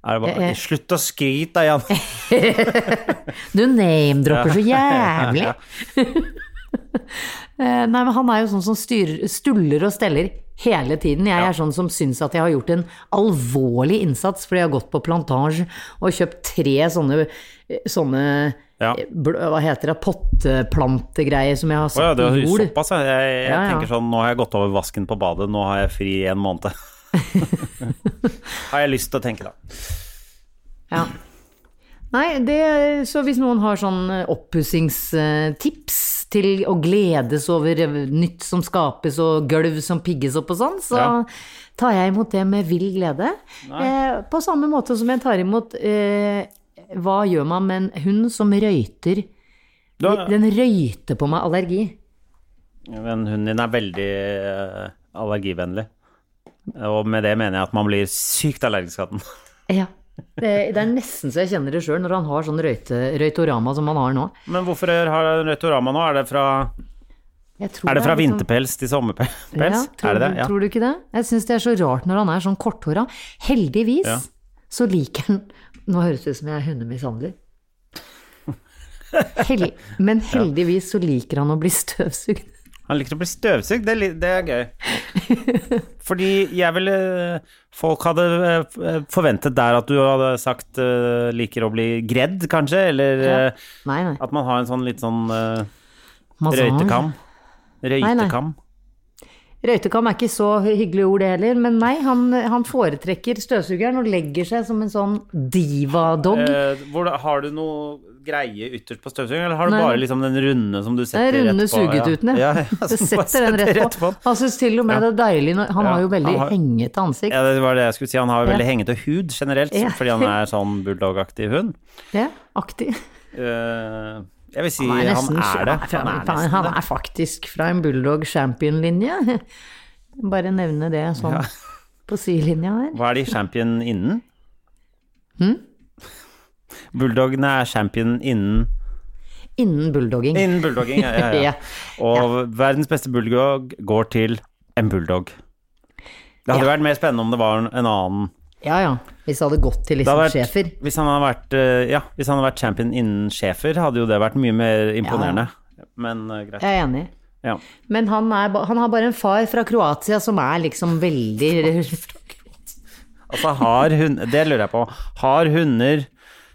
Speaker 1: Er det bare,
Speaker 2: Jeg- jeg-
Speaker 1: Slutt å skryte,
Speaker 2: [laughs]
Speaker 1: da, Jan!
Speaker 2: Du name-dropper så
Speaker 1: [laughs]
Speaker 2: jævlig! [laughs] Eh, Nei, men han er jo sånn som styrer, stuller og steller hele tiden. Jeg er sånn som syns at jeg har gjort en alvorlig innsats fordi jeg har gått på plantasje og kjøpt tre sånne, eh, sånne
Speaker 1: Ja.
Speaker 2: eh, bl- hva heter det, potteplantegreier som jeg har
Speaker 1: Å ja,
Speaker 2: satt
Speaker 1: det
Speaker 2: i
Speaker 1: er
Speaker 2: jord.
Speaker 1: såpass, ja. jeg, jeg
Speaker 2: Ja, ja.
Speaker 1: tenker sånn Nå har jeg gått over vasken på badet, nå har jeg fri i en
Speaker 2: [laughs]
Speaker 1: måned. [laughs] har jeg lyst til å tenke, da.
Speaker 2: Ja. Nei, det, så hvis noen har sånn eh, oppussingstips til å gledes over nytt som skapes og gulv som pigges opp og sånn, så
Speaker 1: Ja.
Speaker 2: tar jeg imot det med vill glede. Eh, på samme måte som jeg tar imot eh, Hva gjør man med en hund som røyter?
Speaker 1: Da-
Speaker 2: Den røyter på meg allergi.
Speaker 1: Men hunden din er veldig eh, allergivennlig. Og med det mener jeg at man blir sykt allergisk av den. [laughs]
Speaker 2: Ja. Det, det er nesten så jeg kjenner det sjøl når han har sånn røyte, røytorama som han har nå.
Speaker 1: Men hvorfor har den Rødtorama nå? Er det fra,
Speaker 2: Jeg tror
Speaker 1: er det
Speaker 2: det
Speaker 1: fra
Speaker 2: litt sånn-
Speaker 1: vinterpels til sommerpels?
Speaker 2: tror,
Speaker 1: er det det?
Speaker 2: du-
Speaker 1: Ja.
Speaker 2: tror du ikke det? Jeg syns det er så rart når han er sånn korthåra. Heldigvis
Speaker 1: Ja.
Speaker 2: så liker han Nå høres det ut som jeg er hundemishandler. Hel, men heldigvis så liker han å bli støvsugd.
Speaker 1: Han liker å bli støvsugd, det, er li- det er gøy.
Speaker 2: [laughs]
Speaker 1: Fordi jeg ville Folk hadde eh, forventet der at du hadde sagt eh, liker å bli gredd, kanskje, eller eh,
Speaker 2: Nei, nei.
Speaker 1: at man har en sånn litt sånn eh,
Speaker 2: Massasje.
Speaker 1: røytekam. Røytekam.
Speaker 2: Røytekam er ikke så hyggelig ord, det heller. Men nei, han, han foretrekker støvsugeren og legger seg som en sånn diva-dog.
Speaker 1: Eh, hvor, har du noe greie ytterst på støvsugeren, eller har du
Speaker 2: Nei.
Speaker 1: bare liksom den runde som du
Speaker 2: Den
Speaker 1: setter
Speaker 2: runde
Speaker 1: rett på?
Speaker 2: sugetuten,
Speaker 1: ja.
Speaker 2: [laughs] ja.
Speaker 1: ja, ja
Speaker 2: Du
Speaker 1: som bare
Speaker 2: setter den rett på. Han syns til og med det er deilig når Han
Speaker 1: Ja,
Speaker 2: har jo veldig
Speaker 1: han har-
Speaker 2: hengete ansikt.
Speaker 1: Ja, det var det jeg skulle si. Han har jo veldig
Speaker 2: Ja.
Speaker 1: hengete hud generelt,
Speaker 2: Ja.
Speaker 1: fordi han er sånn bulldog-aktig hund.
Speaker 2: Ja, aktig.
Speaker 1: Eh, jeg vil si
Speaker 2: Han er, nesten,
Speaker 1: han er det.
Speaker 2: Han er,
Speaker 1: nesten
Speaker 2: han
Speaker 1: det.
Speaker 2: er faktisk fra en Bulldog Champion-linje. [laughs] Bare nevne det sånn på sidelinja her.
Speaker 1: Hva er de champion innen?
Speaker 2: Hm?
Speaker 1: [laughs] Bulldogene er champion innen
Speaker 2: Innen bulldogging.
Speaker 1: Innen bulldogging, ja. ja, ja.
Speaker 2: [laughs] Ja.
Speaker 1: Og verdens beste bulldog går til en bulldog. Det hadde vært mer spennende om det var en en annen
Speaker 2: Ja ja, hvis det hadde gått
Speaker 1: Det
Speaker 2: til liksom
Speaker 1: hadde vært-
Speaker 2: sjefer.
Speaker 1: Hvis han hadde vært, eh, ja, hvis han hadde vært champion innen Schæfer, hadde jo det vært mye mer imponerende. Men eh, greit.
Speaker 2: Jeg er enig.
Speaker 1: Ja.
Speaker 2: Men han, er, ba- han har bare en far fra Kroatia som er liksom veldig
Speaker 1: [laughs] Altså, har hun Det lurer jeg på. Har hunder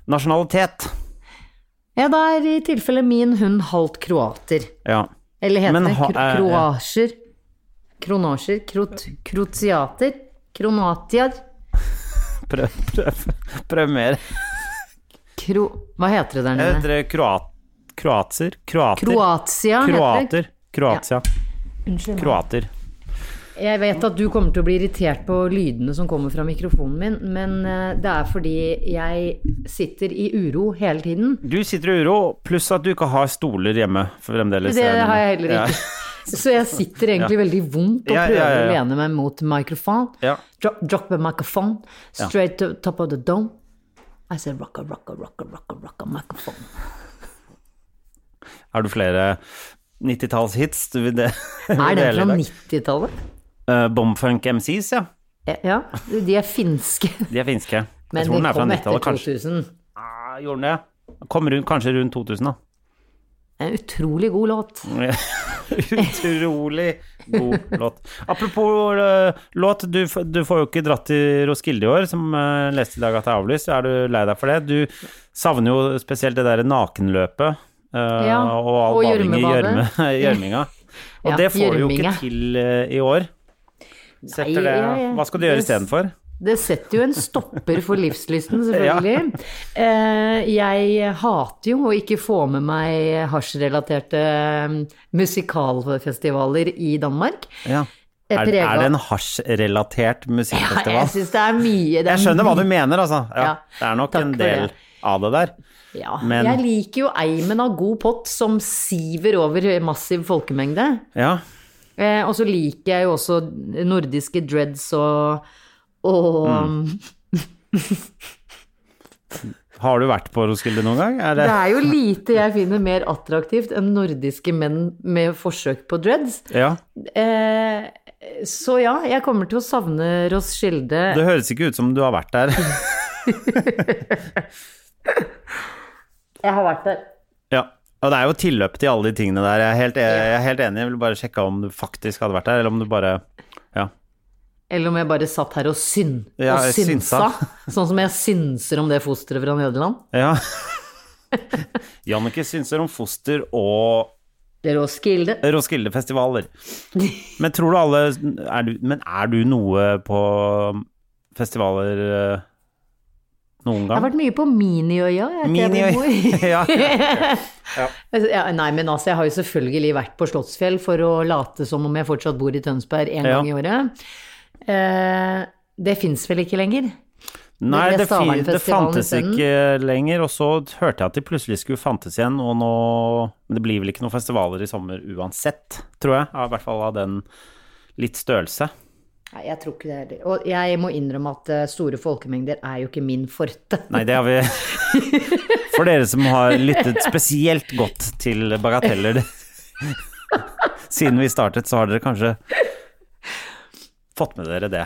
Speaker 1: nasjonalitet?
Speaker 2: Ja, da er i tilfelle min hund halvt kroater.
Speaker 1: Ja.
Speaker 2: Eller heter
Speaker 1: Men
Speaker 2: det
Speaker 1: ha-
Speaker 2: kro
Speaker 1: eh, ja.
Speaker 2: kroasjer? Kronasjer? Krot krotiater? Kronatiar?
Speaker 1: Prøv, prøv, prøv mer.
Speaker 2: Kro... Hva heter det der
Speaker 1: Jeg
Speaker 2: nede?
Speaker 1: heter Eh, det kroat, kroatser? Kroater?
Speaker 2: Kroatia heter det.
Speaker 1: Kroater. Kroatia.
Speaker 2: Unnskyld. meg.
Speaker 1: Kroater.
Speaker 2: Jeg vet at du kommer til å bli irritert på lydene som kommer fra mikrofonen min, men eh, det er fordi jeg sitter i uro hele tiden.
Speaker 1: Du sitter i uro, pluss at du ikke har stoler hjemme fremdeles.
Speaker 2: Det
Speaker 1: mener.
Speaker 2: har jeg heller
Speaker 1: Ja.
Speaker 2: ikke. Så jeg sitter egentlig veldig vondt og
Speaker 1: Ja, ja,
Speaker 2: prøver
Speaker 1: ja, ja.
Speaker 2: å lene meg mot mikrofon.
Speaker 1: Ja.
Speaker 2: Drop, drop a microphone straight to top of the dome. I said rocka, rocka, rocka, rocka, rocka microphone.
Speaker 1: Har du flere 90-tallshits du vil de-
Speaker 2: Er
Speaker 1: vil
Speaker 2: den
Speaker 1: dele
Speaker 2: fra
Speaker 1: i dag?
Speaker 2: 90-tallet?
Speaker 1: Eh, Bombfunk MCs, ja.
Speaker 2: Ja, de er finske.
Speaker 1: De er finske.
Speaker 2: Men
Speaker 1: jeg tror den
Speaker 2: den
Speaker 1: er fra
Speaker 2: kom etter
Speaker 1: 90-tallet, kanskje.
Speaker 2: 2000.
Speaker 1: Ah, gjorde den det? Kom rundt, kanskje rundt 2000, da.
Speaker 2: En utrolig god låt.
Speaker 1: [laughs] Utrolig god låt. Apropos eh, låt, du, f- du får jo ikke dratt til Roskilde i år, som eh, leste i dag at det er avlyst. Er du lei deg for det? Du savner jo spesielt det derre nakenløpet eh,
Speaker 2: Ja,
Speaker 1: og all
Speaker 2: og
Speaker 1: bading i gjørme- [laughs]
Speaker 2: gjørmebadet.
Speaker 1: gjørminga. Og
Speaker 2: [laughs] Ja,
Speaker 1: det får du jo ikke
Speaker 2: gjørminga.
Speaker 1: til eh, i år.
Speaker 2: Nei,
Speaker 1: Setter det,
Speaker 2: ja, ja.
Speaker 1: hva skal du gjøre
Speaker 2: Det-
Speaker 1: istedenfor?
Speaker 2: Det setter jo en stopper for livslysten, selvfølgelig. Eh, Jeg hater jo å ikke få med meg hasjrelaterte eh, musikalfestivaler i Danmark.
Speaker 1: Ja.
Speaker 2: Jeg
Speaker 1: Er,
Speaker 2: preget-
Speaker 1: er det en hasjrelatert
Speaker 2: [laughs] Ja,
Speaker 1: musikkfestival?
Speaker 2: jeg syns det er mye. Det er
Speaker 1: Jeg skjønner hva du mener, altså. Ja,
Speaker 2: Ja,
Speaker 1: det er nok
Speaker 2: takk
Speaker 1: en
Speaker 2: for
Speaker 1: del
Speaker 2: det.
Speaker 1: av det der.
Speaker 2: Ja,
Speaker 1: men-
Speaker 2: Jeg liker jo eimen av god pott som siver over massiv folkemengde.
Speaker 1: Ja.
Speaker 2: Eh, og så liker jeg jo også nordiske dreads og, og
Speaker 1: Mm. Har du vært på Roskilde noen gang? Er det,
Speaker 2: Det er jo lite jeg finner mer attraktivt enn nordiske menn med forsøk på dreads.
Speaker 1: Ja.
Speaker 2: Eh, så ja, jeg kommer til å savne Roskilde.
Speaker 1: Det høres ikke ut som du har vært der.
Speaker 2: [laughs] Jeg har vært der.
Speaker 1: ja. Og det er jo tilløp til alle de tingene der. Jeg er helt, e- jeg er helt enig. Jeg ville bare sjekke om du faktisk hadde vært der, eller om du bare Ja.
Speaker 2: Eller om jeg bare satt her og, syn,
Speaker 1: Ja,
Speaker 2: og
Speaker 1: jeg
Speaker 2: synsa.
Speaker 1: synsa.
Speaker 2: [laughs] Sånn som jeg synser om det fosteret fra Nederland.
Speaker 1: ja. [laughs] Jannicke synser om foster og
Speaker 2: Det er Roskilde. [laughs]
Speaker 1: Roskilde-festivaler. Men tror du alle er du, Men er du noe på festivaler eh, noen
Speaker 2: Jeg har
Speaker 1: gang?
Speaker 2: vært mye på Miniøya. jeg, til jeg ble mor.
Speaker 1: [laughs] ja.
Speaker 2: [laughs] ja, nei, men altså, jeg har jo selvfølgelig vært på Slottsfjell for å late som om jeg fortsatt bor i Tønsberg en
Speaker 1: Ja.
Speaker 2: gang i året. Eh, det fins vel ikke lenger?
Speaker 1: Nei,
Speaker 2: ble
Speaker 1: det, fi- det
Speaker 2: Stavernfestivalen
Speaker 1: fantes
Speaker 2: isteden.
Speaker 1: ikke lenger, og så hørte jeg at de plutselig skulle fantes igjen, og nå Men det blir vel ikke noen festivaler i sommer uansett, tror jeg. Ja, I hvert fall av den litt størrelse.
Speaker 2: Nei, jeg tror ikke det heller. Og jeg må innrømme at eh, store folkemengder er jo ikke min forte.
Speaker 1: Nei, det har
Speaker 2: [laughs]
Speaker 1: vi For dere som har lyttet spesielt godt til bagateller siden vi startet, så har dere kanskje fått med dere det.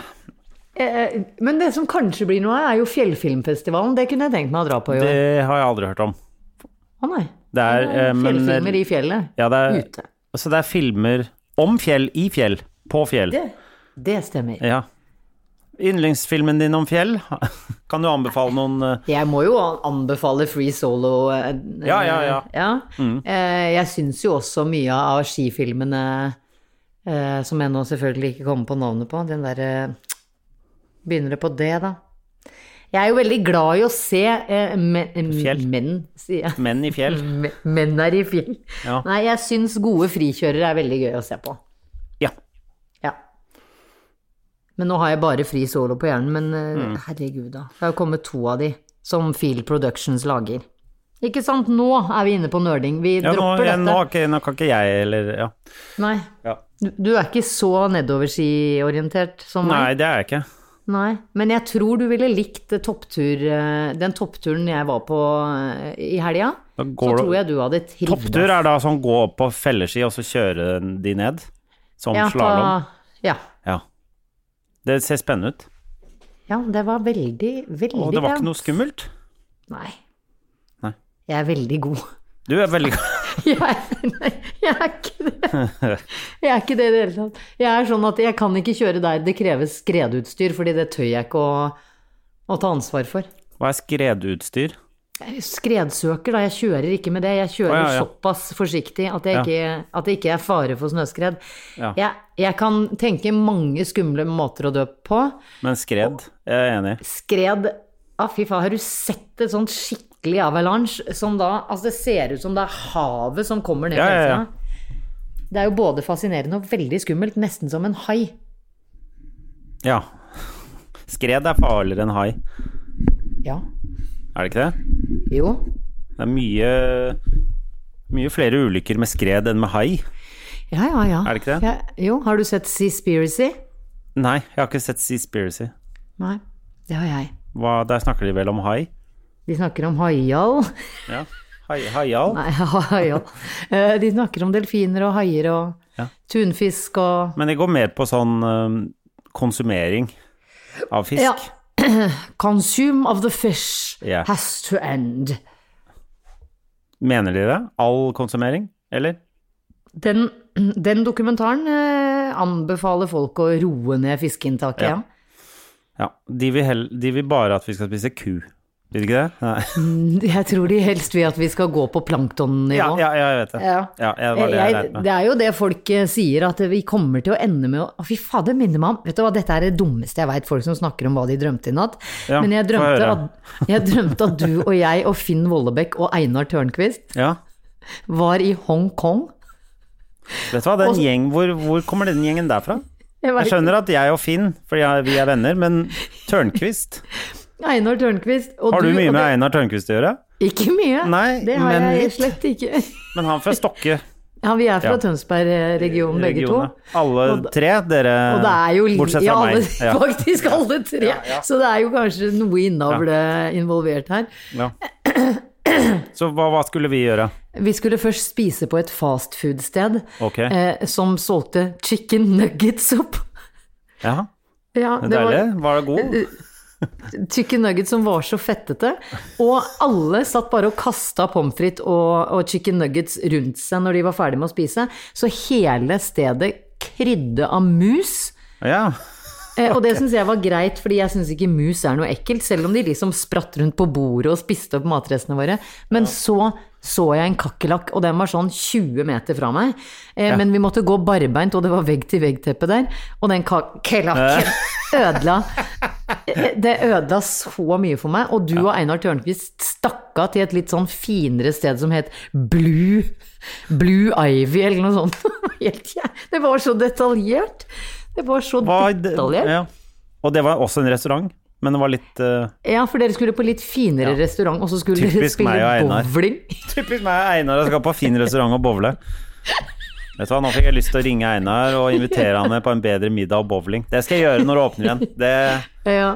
Speaker 2: Eh, men det som kanskje blir noe av, er jo Fjellfilmfestivalen. Det kunne jeg tenkt meg å dra på i år.
Speaker 1: Det har jeg aldri hørt om.
Speaker 2: Å nei.
Speaker 1: Det er, eh, men
Speaker 2: Fjellfilmer i fjellet.
Speaker 1: ja, det er,
Speaker 2: Ute.
Speaker 1: Så det er filmer om fjell, i fjell, på fjell.
Speaker 2: Det, det stemmer.
Speaker 1: Ja. Yndlingsfilmen din om fjell? [laughs] Kan du anbefale noen eh,
Speaker 2: Jeg må jo anbefale Free Solo. eh,
Speaker 1: Ja, ja, ja. Mm.
Speaker 2: Eh, Jeg syns jo også mye av skifilmene eh, som jeg nå selvfølgelig ikke kommer på navnet på, den derre Begynner det på det, da? Jeg er jo veldig glad i å se eh, men,
Speaker 1: Fjell.
Speaker 2: menn, sier jeg.
Speaker 1: menn i fjell?
Speaker 2: Me- Menn er i fjell.
Speaker 1: Ja.
Speaker 2: Nei, jeg syns gode frikjørere er veldig gøy å se på.
Speaker 1: Ja.
Speaker 2: Ja. Men nå har jeg bare fri solo på hjernen, men eh,
Speaker 1: Mm.
Speaker 2: herregud da. Det har jo kommet to av de som Field Productions lager. Ikke sant, nå er vi inne på nerding. Vi
Speaker 1: ja nå,
Speaker 2: dropper
Speaker 1: ja, nå,
Speaker 2: dette.
Speaker 1: har ikke, nå kan ikke jeg eller ja.
Speaker 2: Nei.
Speaker 1: Ja.
Speaker 2: Du, du er ikke så nedoverskiorientert som meg.
Speaker 1: Nei, det er jeg ikke.
Speaker 2: Nei. Men jeg tror du ville likt det topptur, eh, den toppturen jeg var på eh, i helga.
Speaker 1: Da
Speaker 2: Så
Speaker 1: går
Speaker 2: tror
Speaker 1: du
Speaker 2: jeg du hadde trivdes.
Speaker 1: Topptur er da sånn gå opp på felleski og så kjøre de ned? Som
Speaker 2: ja,
Speaker 1: slalåm?
Speaker 2: på- Ja.
Speaker 1: Ja. Det ser spennende ut.
Speaker 2: Ja, det var veldig, veldig
Speaker 1: Og det var
Speaker 2: pent.
Speaker 1: ikke noe skummelt?
Speaker 2: Nei.
Speaker 1: Nei.
Speaker 2: Jeg er veldig god. [laughs]
Speaker 1: Du er veldig
Speaker 2: Jeg er, nei, jeg er ikke det. Jeg er ikke det i det hele tatt. Jeg er sånn at jeg kan ikke kjøre der det kreves skredutstyr, fordi det tør jeg ikke å, å ta ansvar for.
Speaker 1: [laughs] Hva er skredutstyr?
Speaker 2: Jeg Skredsøker, da. Jeg kjører ikke med det. Jeg
Speaker 1: Å,
Speaker 2: kjører
Speaker 1: ja, ja.
Speaker 2: såpass forsiktig at, jeg
Speaker 1: Ja.
Speaker 2: ikke, at det ikke er fare for snøskred.
Speaker 1: Ja.
Speaker 2: Jeg, jeg kan tenke mange skumle måter å dø på.
Speaker 1: Men skred, jeg er enig.
Speaker 2: Skred ah, Fy faen, har du sett et sånt skikkelig avalanche som da Altså, det ser ut som det er havet som kommer ned
Speaker 1: Ja, ja, ja.
Speaker 2: fjellsida. Det er jo både fascinerende og veldig skummelt, nesten som en hai.
Speaker 1: Ja. [laughs] Skred er farligere enn hai,
Speaker 2: Ja.
Speaker 1: er det ikke det?
Speaker 2: Jo.
Speaker 1: Det er mye mye flere ulykker med skred enn med hai.
Speaker 2: Ja, ja, ja.
Speaker 1: Er det ikke det?
Speaker 2: Ja, jo. Har du sett Seaspiracy?
Speaker 1: Nei, jeg har ikke sett Seaspiracy.
Speaker 2: Nei. Det har jeg.
Speaker 1: Hva, der snakker de vel om hai?
Speaker 2: De snakker om haial. [laughs]
Speaker 1: Ja. Hai, haial?
Speaker 2: Nei, [laughs] haial. Eh, De snakker om delfiner og haier og
Speaker 1: Ja.
Speaker 2: tunfisk og
Speaker 1: Men det går mer på sånn øhm, konsumering av fisk.
Speaker 2: Ja. [clears throat] Consume of the fish
Speaker 1: Ja.
Speaker 2: has to end.
Speaker 1: Mener de det? All konsumering, eller?
Speaker 2: Den, den dokumentaren eh, anbefaler folk å roe ned fiskeinntaket.
Speaker 1: Ja.
Speaker 2: Ja.
Speaker 1: Ja. De vil, hell, de vil bare at vi skal spise ku. Vil de ikke det?
Speaker 2: [laughs]
Speaker 1: Nei.
Speaker 2: Jeg tror de helst vil at vi skal gå på planktonnivå.
Speaker 1: Ja, ja, ja, jeg vet det.
Speaker 2: Ja.
Speaker 1: Ja, ja, det var det jeg
Speaker 2: Jeg-
Speaker 1: lærte meg.
Speaker 2: det er jo det folk eh, sier, at vi kommer til å ende med å Å, Fy fader, det minner meg om Vet du hva, dette er det dummeste jeg veit, folk som snakker om hva de drømte i natt.
Speaker 1: Ja,
Speaker 2: Men jeg
Speaker 1: få
Speaker 2: drømte,
Speaker 1: høre.
Speaker 2: at, jeg drømte at du og jeg og Finn Vollebekk og Einar Tørnquist
Speaker 1: Ja.
Speaker 2: var i Hongkong.
Speaker 1: Vet du hva, den gjeng, hvor, hvor kommer den gjengen der fra?
Speaker 2: Jeg vet
Speaker 1: Jeg skjønner at jeg og Finn, for jeg, vi er venner, men Tørnquist
Speaker 2: ikke. Einar Tørnquist og
Speaker 1: Har du mye
Speaker 2: og
Speaker 1: med
Speaker 2: det-
Speaker 1: Einar Tørnquist å gjøre?
Speaker 2: Ikke mye.
Speaker 1: Nei,
Speaker 2: det har
Speaker 1: men
Speaker 2: jeg
Speaker 1: litt.
Speaker 2: slett ikke.
Speaker 1: Men han fra Stokke
Speaker 2: Ja, vi er fra
Speaker 1: Ja.
Speaker 2: Tønsberg-regionen begge to.
Speaker 1: regionen. Alle
Speaker 2: Og da-
Speaker 1: tre, dere
Speaker 2: Og det er jo li-
Speaker 1: Bortsett fra
Speaker 2: ja, [laughs] alle,
Speaker 1: meg. Ja.
Speaker 2: Faktisk alle tre. Så det er jo kanskje noe innavle involvert her.
Speaker 1: Ja. Så hva, hva skulle vi gjøre?
Speaker 2: Vi skulle først spise på et fastfood-sted
Speaker 1: Ok.
Speaker 2: eh, som solgte chicken nuggetsupp.
Speaker 1: Ja,
Speaker 2: Ja, det var Eh,
Speaker 1: deilig. Var det god?
Speaker 2: chicken nuggets som var så fettete. Og alle satt bare og kasta pommes frites og, og chicken nuggets rundt seg når de var ferdig med å spise. Så hele stedet krydde av mus.
Speaker 1: Ja.
Speaker 2: Eh, Og det syns jeg var greit, fordi jeg syns ikke mus er noe ekkelt, selv om de liksom spratt rundt på bordet og spiste opp matrestene våre. Men så så jeg en kakerlakk, og den var sånn 20 meter fra meg. Eh, Men vi måtte gå barbeint, og det var vegg-til-vegg-teppe der. Og den kakerlakken ødela eh, Det ødela så mye for meg. Og du og Einar Tørnquist stakk av til et litt sånn finere sted som het Blue Blue Ivy, eller noe sånt. [laughs] Helt jæ- Det var så detaljert. Det var så
Speaker 1: Hva,
Speaker 2: detaljert.
Speaker 1: ja. Og det var også en restaurant, men det var litt eh,
Speaker 2: Ja, for dere skulle på litt finere restaurant, og så skulle dere
Speaker 1: Typisk meg
Speaker 2: spille
Speaker 1: og Einar.
Speaker 2: bowling. [laughs]
Speaker 1: Typisk meg og Einar å skal på fin restaurant og bowle. Vet du hva, Nå fikk jeg lyst til å ringe Einar og invitere han med på en bedre middag og bowling. Det skal jeg gjøre når det åpner igjen. Det,
Speaker 2: Ja.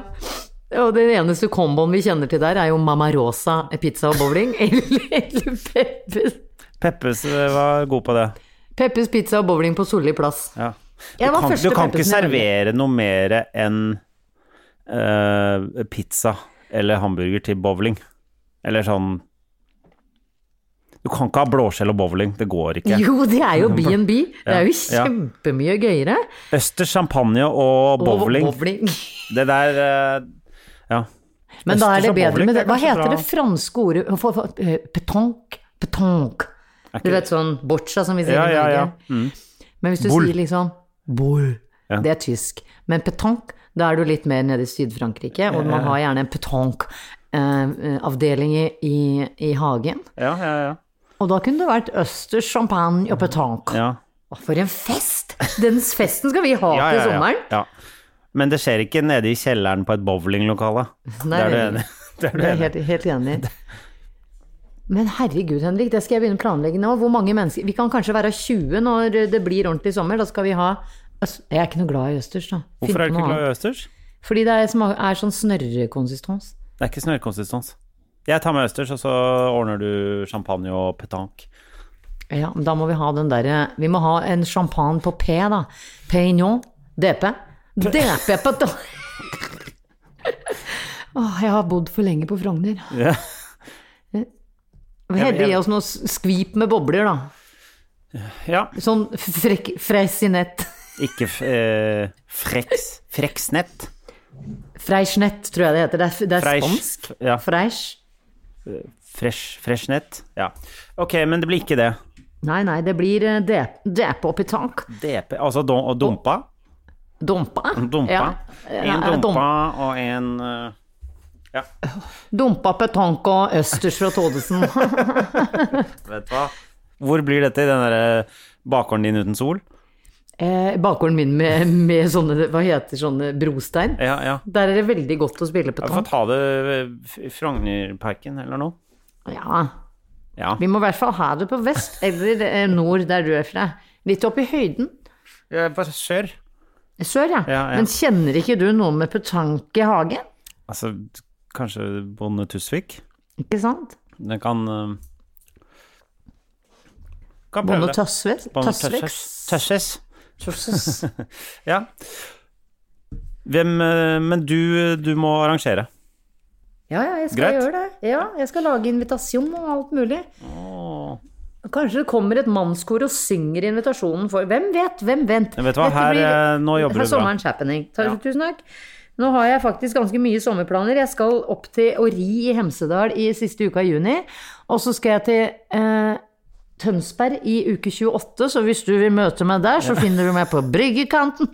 Speaker 2: Og den eneste komboen vi kjenner til der, er jo Mamma Rosa pizza og bowling. [laughs] Eller, eller Peppes,
Speaker 1: Peppes eh, var god på det.
Speaker 2: Peppes pizza og bowling på Solli plass.
Speaker 1: Ja. Du
Speaker 2: Jeg var
Speaker 1: kan,
Speaker 2: første
Speaker 1: du kan ikke
Speaker 2: Peppesen i Norge.
Speaker 1: servere noe mer enn eh, pizza eller hamburger til bowling. Eller sånn Du kan ikke ha blåskjell og bowling, det går ikke.
Speaker 2: Jo, det er
Speaker 1: [laughs]
Speaker 2: jo B&B. Det er jo
Speaker 1: Ja.
Speaker 2: kjempemye gøyere.
Speaker 1: Østers, champagne og bowling.
Speaker 2: Og bowling.
Speaker 1: Det der eh, Ja.
Speaker 2: Men da er
Speaker 1: Østers
Speaker 2: det
Speaker 1: og
Speaker 2: bedre
Speaker 1: bowling
Speaker 2: med det.
Speaker 1: er
Speaker 2: Hva
Speaker 1: kanskje
Speaker 2: heter
Speaker 1: bra.
Speaker 2: det franske ordet for, for, eh, Petanque. Petanque. Du vet sånn boccia som vi sier
Speaker 1: Ja,
Speaker 2: i
Speaker 1: ja,
Speaker 2: Norge.
Speaker 1: ja. Mm.
Speaker 2: Men hvis du
Speaker 1: Boule.
Speaker 2: sier liksom boule, det er tysk. Men petanque, da er du litt mer nede i Syd-Frankrike, og man har gjerne en petanque-avdeling i, i, i hagen.
Speaker 1: Ja, ja, ja.
Speaker 2: Og da kunne det vært østers, champagne og petanque.
Speaker 1: ja.
Speaker 2: Å, For en fest! Den festen skal vi ha
Speaker 1: ja,
Speaker 2: til
Speaker 1: ja, ja.
Speaker 2: sommeren.
Speaker 1: ja. Men det skjer ikke nede i kjelleren på et bowlinglokale. Det [laughs]
Speaker 2: Nei,
Speaker 1: er du
Speaker 2: det-
Speaker 1: enig Det er du
Speaker 2: Det er
Speaker 1: enig i?
Speaker 2: helt, helt enig. i. Men herregud, Henrik, det skal jeg begynne å planlegge nå. Hvor mange mennesker Vi kan kanskje være 20 når det blir ordentlig sommer. Da skal vi ha øst... Jeg er ikke noe glad i østers, da. Finn
Speaker 1: Hvorfor er
Speaker 2: på
Speaker 1: du
Speaker 2: noe
Speaker 1: ikke glad i
Speaker 2: annet.
Speaker 1: østers?
Speaker 2: Fordi det er, sma- er sånn snørrekonsistens.
Speaker 1: Det er ikke snørrkonsistens. Jeg tar med østers, og så ordner du champagne og petanque.
Speaker 2: Ja, men da må vi ha den derre Vi må ha en champagne på P, da. Pignon. DP. DP på [laughs] Åh, jeg har bodd for lenge på Frogner.
Speaker 1: Ja.
Speaker 2: Hedde gi oss noe skvip med bobler, da.
Speaker 1: ja.
Speaker 2: Sånn frekk, freisinett.
Speaker 1: Ikke f- eh, freks... Freksnett.
Speaker 2: Freisnett, tror jeg det heter. Det er, det er spansk.
Speaker 1: Ja.
Speaker 2: Freis.
Speaker 1: Fresh, freshnett. Ja. Ok, men det blir ikke det.
Speaker 2: Nei, nei, det blir eh, dep- depe oppi tank.
Speaker 1: DP, altså dom, og dumpa.
Speaker 2: Dumpa.
Speaker 1: Dumpa.
Speaker 2: Ja.
Speaker 1: En
Speaker 2: Ja,
Speaker 1: dumpa og en eh,
Speaker 2: Dumpa petank og østers fra
Speaker 1: [laughs]
Speaker 2: Todesen.
Speaker 1: Vet du hva? Hvor blir dette i den derre bakgården din uten sol?
Speaker 2: eh, bakgården min med, med sånne, hva heter sånne brostein.
Speaker 1: Ja, ja.
Speaker 2: Der er det veldig godt å spille
Speaker 1: Vi får
Speaker 2: petank.
Speaker 1: ta det eh, f- Frognerparken eller noe.
Speaker 2: Ja,
Speaker 1: Ja.
Speaker 2: vi må i hvert fall ha det på vest, eller eh, nord der du er fra. Litt opp i høyden.
Speaker 1: Ja, Bare kjør.
Speaker 2: Sør, ja.
Speaker 1: Ja, ja.
Speaker 2: Men kjenner ikke du noe med petank i hagen?
Speaker 1: Altså, kanskje Bonde Tusvik?
Speaker 2: Ikke sant?
Speaker 1: Den kan eh, Kan prøve
Speaker 2: Bonde
Speaker 1: det.
Speaker 2: Tøsves?
Speaker 1: Bonde
Speaker 2: Tøsveks?
Speaker 1: Tøsses.
Speaker 2: Tøsves.
Speaker 1: Ja. Hvem eh, Men du, du må arrangere.
Speaker 2: Ja, ja, jeg skal
Speaker 1: Greit.
Speaker 2: gjøre det. Ja, jeg skal lage invitasjon og alt mulig. Kanskje det kommer et mannskor og synger invitasjonen for Hvem vet, hvem vet?
Speaker 1: Men vet du hva,
Speaker 2: Dette
Speaker 1: her, eh, nå jobber
Speaker 2: her
Speaker 1: du bra.
Speaker 2: sommerens happening. Takk, Tusen takk. Nå har jeg faktisk ganske mye sommerplaner. Jeg skal opp til Ori i Hemsedal i siste uka i juni. Og så skal jeg til eh, Tønsberg i uke 28, så hvis du vil møte meg der, så finner du meg på bryggekanten.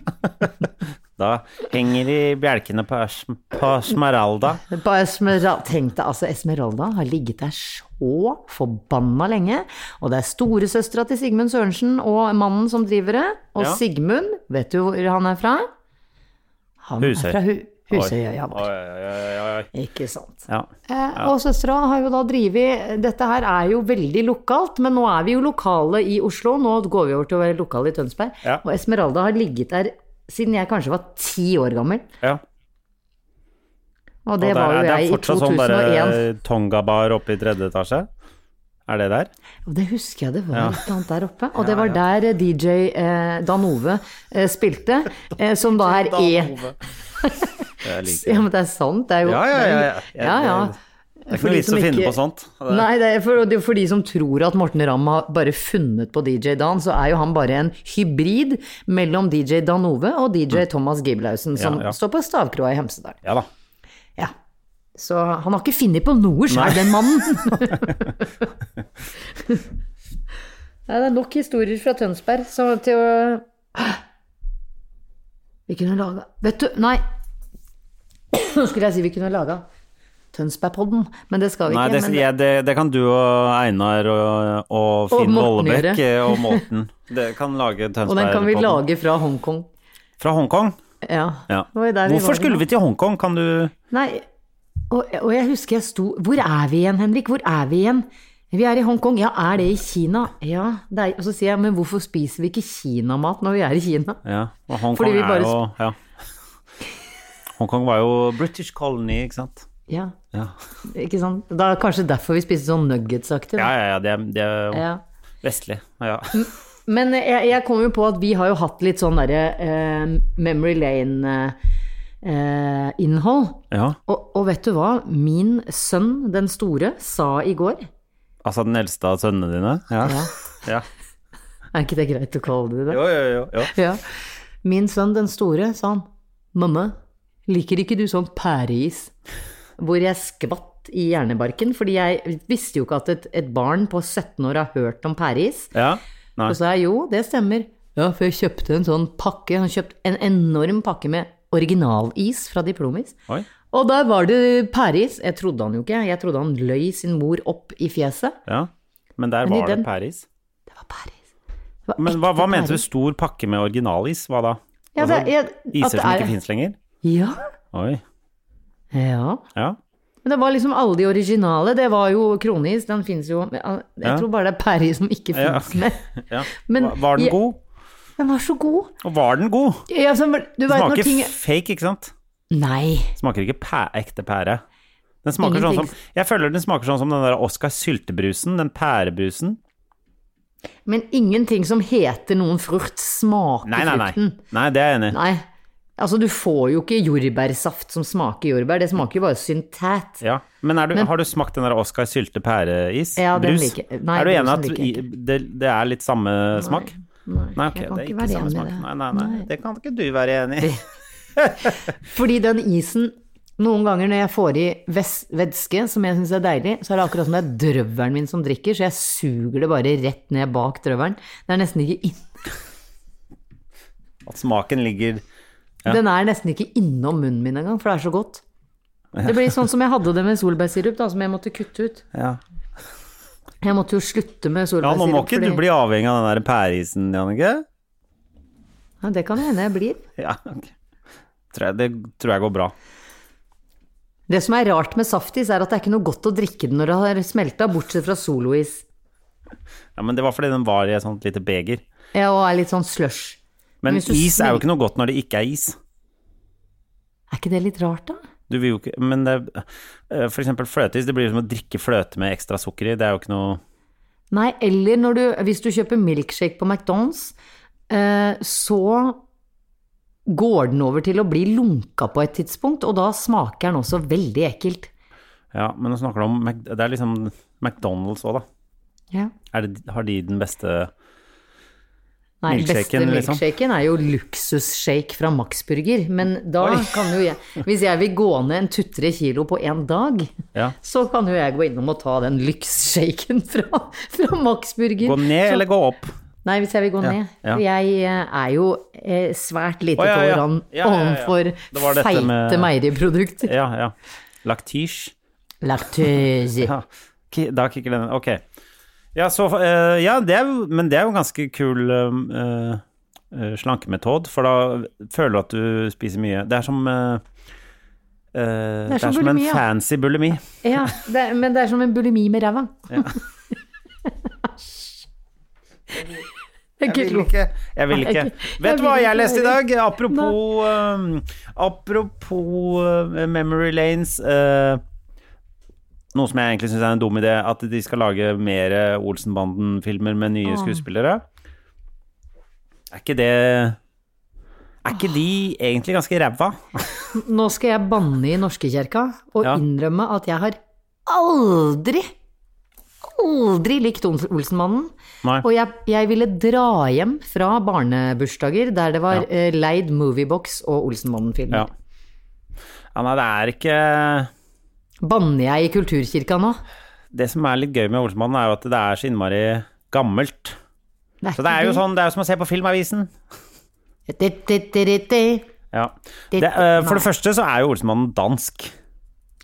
Speaker 1: Da henger de bjelkene på, Esm- på Smeralda.
Speaker 2: På Esmeralda, Tenk deg, altså, Esmeralda har ligget der så forbanna lenge. Og det er storesøstera til Sigmund Sørensen og mannen som driver det. Og
Speaker 1: Ja.
Speaker 2: Sigmund, vet du hvor han er fra? Han
Speaker 1: Husøy.
Speaker 2: er fra hu Husøyøya
Speaker 1: Oi,
Speaker 2: vår.
Speaker 1: oi, oi, oi, oi.
Speaker 2: Ikke sant.
Speaker 1: Ja.
Speaker 2: Eh, og søstera har jo da drevet Dette her er jo veldig lokalt, men nå er vi jo lokale i Oslo. Nå går vi over til å være lokale i Tønsberg.
Speaker 1: Ja.
Speaker 2: Og Esmeralda har ligget der siden jeg kanskje var ti år gammel.
Speaker 1: ja.
Speaker 2: Og det var jo jeg i 2001.
Speaker 1: sånn der eh, Tonga-bar oppe i tredje etasje. Er det der?
Speaker 2: Og det husker jeg, det var et eller annet der oppe. Og det var der eh, DJ eh, Dan Ove eh, spilte, eh, som
Speaker 1: [laughs]
Speaker 2: da er E.
Speaker 1: Jeg liker det.
Speaker 2: Ja, men det er sant, det er jo
Speaker 1: Ja, ja, ja, ja.
Speaker 2: ja, ja.
Speaker 1: Det er ikke noe
Speaker 2: For de
Speaker 1: vits
Speaker 2: som
Speaker 1: å finne
Speaker 2: liksom ikke-
Speaker 1: på sånt. Det-
Speaker 2: Nei, det er for, det er for de som tror at Morten Ramm har bare funnet på DJ Dan, så er jo han bare en hybrid mellom DJ Dan Ove og DJ Thomas Giblausen, som
Speaker 1: Mm. Ja, ja.
Speaker 2: står på stavkroa i Hemsedal.
Speaker 1: Ja da.
Speaker 2: Ja. Så han har ikke funnet på noe sjøl, den mannen. [laughs] Nei, det er nok historier fra Tønsberg så til å Vi kunne laga Vet du, nei. Nå skulle jeg si vi kunne laga Tønsbergpodden, men det skal vi
Speaker 1: Nei,
Speaker 2: ikke.
Speaker 1: det,
Speaker 2: men-
Speaker 1: jeg, det, det kan du og Einar og, og Finn
Speaker 2: Morten
Speaker 1: Vollebekk eh,
Speaker 2: gjøre.
Speaker 1: og Morten. Det kan lage Tønsberg.
Speaker 2: [laughs] og den kan vi
Speaker 1: på den.
Speaker 2: lage fra Hongkong.
Speaker 1: Fra Hongkong?
Speaker 2: Ja.
Speaker 1: Ja.
Speaker 2: Det var jo der vi var
Speaker 1: Hvorfor
Speaker 2: i
Speaker 1: skulle
Speaker 2: dag.
Speaker 1: vi til Hongkong? Kan du
Speaker 2: Nei, og, og jeg husker jeg sto Hvor er vi igjen, Henrik? Hvor er vi igjen? Vi er i Hongkong. Ja, er det i Kina? Ja. Det er, og så sier jeg, men hvorfor spiser vi ikke kinamat når vi er i Kina?
Speaker 1: Ja, og Hongkong
Speaker 2: Fordi vi
Speaker 1: er
Speaker 2: bare
Speaker 1: jo ja. Hongkong var jo British colony, ikke sant?
Speaker 2: Ja,
Speaker 1: Ja,
Speaker 2: ikke sant? Da er det kanskje derfor vi spiser sånn nuggetsaktig.
Speaker 1: ja,
Speaker 2: da.
Speaker 1: ja, ja det, er- det er jo
Speaker 2: Ja.
Speaker 1: vestlig. Ja.
Speaker 2: Men eh, jeg, jeg kom jo på at vi har jo hatt litt sånn derre eh, Memory Lane-innhold.
Speaker 1: ja,
Speaker 2: og, og vet du hva? Min sønn, den store, sa i går
Speaker 1: altså den eldste av sønnene dine? Ja.
Speaker 2: Ja.
Speaker 1: ja.
Speaker 2: Er ikke det greit å kalle det det?
Speaker 1: Jo, jo, jo. jo.
Speaker 2: [laughs] Ja. Min sønn, den store, sa han. Mamma, liker ikke du sånn pæreis? Hvor jeg skvatt i hjernebarken, fordi jeg visste jo ikke at et, et barn på 17 år har hørt om pæreis.
Speaker 1: Ja. Nei.
Speaker 2: Og så sa jeg jo, det stemmer. Ja, for jeg kjøpte en sånn pakke, han kjøpte en enorm pakke med originalis fra Diplomis.
Speaker 1: Oi.
Speaker 2: Og der var det pæreis. Jeg trodde han jo ikke, jeg trodde han løy sin mor opp i fjeset.
Speaker 1: Ja. Men der
Speaker 2: Men i
Speaker 1: var det
Speaker 2: den-
Speaker 1: Paris.
Speaker 2: Det var pæreis. Det var
Speaker 1: Men hva,
Speaker 2: ekte
Speaker 1: hva mente du?
Speaker 2: pæreis.
Speaker 1: Stor pakke med originalis? Hva da? Altså,
Speaker 2: Ja, det er- at
Speaker 1: Iser
Speaker 2: det
Speaker 1: som
Speaker 2: er-
Speaker 1: ikke fins lenger?
Speaker 2: Ja,
Speaker 1: Oi.
Speaker 2: ja.
Speaker 1: Ja.
Speaker 2: Men det var liksom alle de originale. Det var jo kronis, den fins jo men, al- Jeg
Speaker 1: Ja.
Speaker 2: tror bare det er Perry som ikke
Speaker 1: Ja,
Speaker 2: fins
Speaker 1: ok.
Speaker 2: mer.
Speaker 1: ja.
Speaker 2: Men
Speaker 1: Var- var [laughs] den
Speaker 2: jeg-
Speaker 1: god?
Speaker 2: Den var så god.
Speaker 1: Og var den god?
Speaker 2: Ja, altså, men du vet når
Speaker 1: Smaker
Speaker 2: ting
Speaker 1: fake, ikke sant?
Speaker 2: Nei.
Speaker 1: Smaker ikke pæ ekte pære. Den smaker sånn
Speaker 2: Ingenting.
Speaker 1: som, jeg føler den smaker sånn som den der Oscar syltebrusen, den pærebrusen.
Speaker 2: Men ingenting som heter noen frukt, smaker
Speaker 1: Nei, nei, nei.
Speaker 2: frukten.
Speaker 1: Nei, det er jeg enig i.
Speaker 2: Nei. Altså, du får jo ikke jordbærsaft som smaker jordbær, det smaker jo bare syntat.
Speaker 1: Ja, Men, er du, har du smakt den der Oscar sylte pæreis?
Speaker 2: Ja, den
Speaker 1: Brus?
Speaker 2: liker jeg. Nei,
Speaker 1: er du
Speaker 2: brusen
Speaker 1: enig at
Speaker 2: liker jeg ikke.
Speaker 1: i- det, det er litt samme smak?
Speaker 2: Nei,
Speaker 1: Nei, ok,
Speaker 2: jeg kan
Speaker 1: det er
Speaker 2: ikke
Speaker 1: ikke
Speaker 2: være
Speaker 1: samme
Speaker 2: enig i
Speaker 1: smak.
Speaker 2: det.
Speaker 1: Nei, nei, nei, det kan ikke du være enig
Speaker 2: [laughs]
Speaker 1: i.
Speaker 2: Fordi den isen Noen ganger når jeg får i ves- væske, som jeg syns er deilig, så er det akkurat som det er drøvelen min som drikker, så jeg suger det bare rett ned bak drøvelen. Det er nesten ikke inn,
Speaker 1: At smaken ligger
Speaker 2: Den er nesten ikke innom munnen min engang, for det er så godt. Det blir sånn som jeg hadde det med solbærsirup, da, som jeg måtte kutte ut.
Speaker 1: Ja,
Speaker 2: Jeg måtte jo slutte med
Speaker 1: ja
Speaker 2: solbærsirup.
Speaker 1: nå må ikke du bli avhengig av den der pæreisen, Jannicke.
Speaker 2: ja, Det kan hende jeg blir.
Speaker 1: Ja, ok. Tror jeg, det tror jeg går bra.
Speaker 2: Det som er rart med saftis, er at det er ikke noe godt å drikke den når det har smelta, bortsett fra solois.
Speaker 1: Ja, Men det var fordi den var i et sånt lite beger.
Speaker 2: Ja, og er litt sånn slush.
Speaker 1: Men
Speaker 2: hvis du
Speaker 1: is er jo
Speaker 2: smel-
Speaker 1: ikke noe godt når det ikke er is.
Speaker 2: Er ikke det litt rart, da?
Speaker 1: Du vil jo ikke Men det eh, For eksempel fløteis, det blir jo som å drikke fløte med ekstra sukker i. Det er jo ikke noe
Speaker 2: Nei, eller når du, hvis du kjøper milkshake på McDonald's, eh, så går den over til å bli lunka på et tidspunkt, og da smaker den også veldig ekkelt.
Speaker 1: Ja, men nå snakker du om Mac- Det er liksom McDonald's òg, da.
Speaker 2: Ja.
Speaker 1: Er det, har de den beste
Speaker 2: Nei, beste
Speaker 1: Milkshaken, liksom.
Speaker 2: milkshaken er jo luksusshake fra Maxburger, men da
Speaker 1: Oi.
Speaker 2: kan jo jeg Hvis jeg vil gå ned en tuttre kilo på en dag,
Speaker 1: Ja.
Speaker 2: så kan jo jeg gå innom og ta den luksshaken fra, fra Maxburger.
Speaker 1: Gå ned eller gå opp?
Speaker 2: Nei, hvis jeg vil gå
Speaker 1: Ja,
Speaker 2: ned.
Speaker 1: ja.
Speaker 2: For jeg eh, er jo eh, svært lite
Speaker 1: Å, ja, ja.
Speaker 2: tolerant
Speaker 1: Ja, ja, ja. Det var
Speaker 2: overfor
Speaker 1: dette
Speaker 2: feite
Speaker 1: med- [laughs]
Speaker 2: meieriprodukter.
Speaker 1: Ja, ja. Laktisj.
Speaker 2: Laktose.
Speaker 1: Ja. Ki- Da kicker den Ok. Ja, så, eh, ja det er, jo- men det er jo en ganske kul uh, slankemetod, for da føler du at du spiser mye. Det er som eh, eh, det er
Speaker 2: som
Speaker 1: som, en
Speaker 2: bulimi, ja.
Speaker 1: fancy bulimi.
Speaker 2: Ja, det, er- men det er som en bulimi med ræva. Æsj. [laughs] Det er ikke lov.
Speaker 1: Jeg vil ikke.
Speaker 2: Nei, jeg-
Speaker 1: Vet
Speaker 2: jeg
Speaker 1: du hva
Speaker 2: vil
Speaker 1: jeg
Speaker 2: ikke
Speaker 1: leste i dag?
Speaker 2: heller.
Speaker 1: Apropos, eh, apropos eh, memory lanes. eh, noe som jeg egentlig syns er en dum idé, at de skal lage mer Olsenbanden-filmer med nye
Speaker 2: Ah.
Speaker 1: skuespillere. Er ikke det Er ikke de egentlig ganske ræva?
Speaker 2: Nå skal jeg banne i norskekirka og
Speaker 1: Ja.
Speaker 2: innrømme at jeg har aldri, aldri likt Ols- Olsenmannen.
Speaker 1: Nei.
Speaker 2: Og jeg, jeg ville dra hjem fra barnebursdager der det var
Speaker 1: Ja.
Speaker 2: eh, leid Moviebox og Olsenmannen-filmer.
Speaker 1: Ja. ja, nei, det er ikke
Speaker 2: Banner jeg i kulturkirka nå?
Speaker 1: Det som er litt gøy med Olsenbanden, er jo at det er så innmari gammelt. Så det
Speaker 2: Mm-hmm.
Speaker 1: er jo sånn, det er jo som å se på Filmavisen.
Speaker 2: sånn
Speaker 1: Ja.
Speaker 2: Det-
Speaker 1: Det, eh, for
Speaker 2: nei.
Speaker 1: det første så er jo Olsmannen dansk.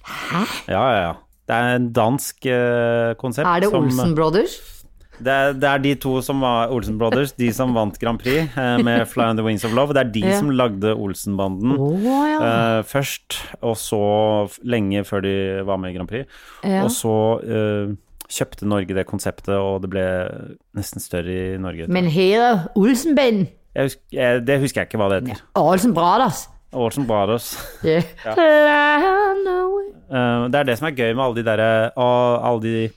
Speaker 1: Hæ? Ja, ja, ja. Det er en dansk eh, konsept.
Speaker 2: Er det
Speaker 1: som-
Speaker 2: Olsen Brothers?
Speaker 1: Det er, det er de to som var Olsen Brothers, de som vant Grand Prix eh, med Fly on the Wings of Love. Det er de
Speaker 2: Ja.
Speaker 1: som lagde Olsenbanden
Speaker 2: Å ja.
Speaker 1: eh, først, og så f- lenge før de var med i Grand Prix.
Speaker 2: Ja.
Speaker 1: Og så eh, kjøpte Norge det konseptet, og det ble nesten større i Norge.
Speaker 2: Men heter Olsenbanden
Speaker 1: Jeg husk, jeg, det husker jeg ikke hva det heter.
Speaker 2: Olsen Brothers?
Speaker 1: Olsen Brothers.
Speaker 2: Yeah. Fly away.
Speaker 1: Eh, Det er det som er gøy med alle de derre og alle de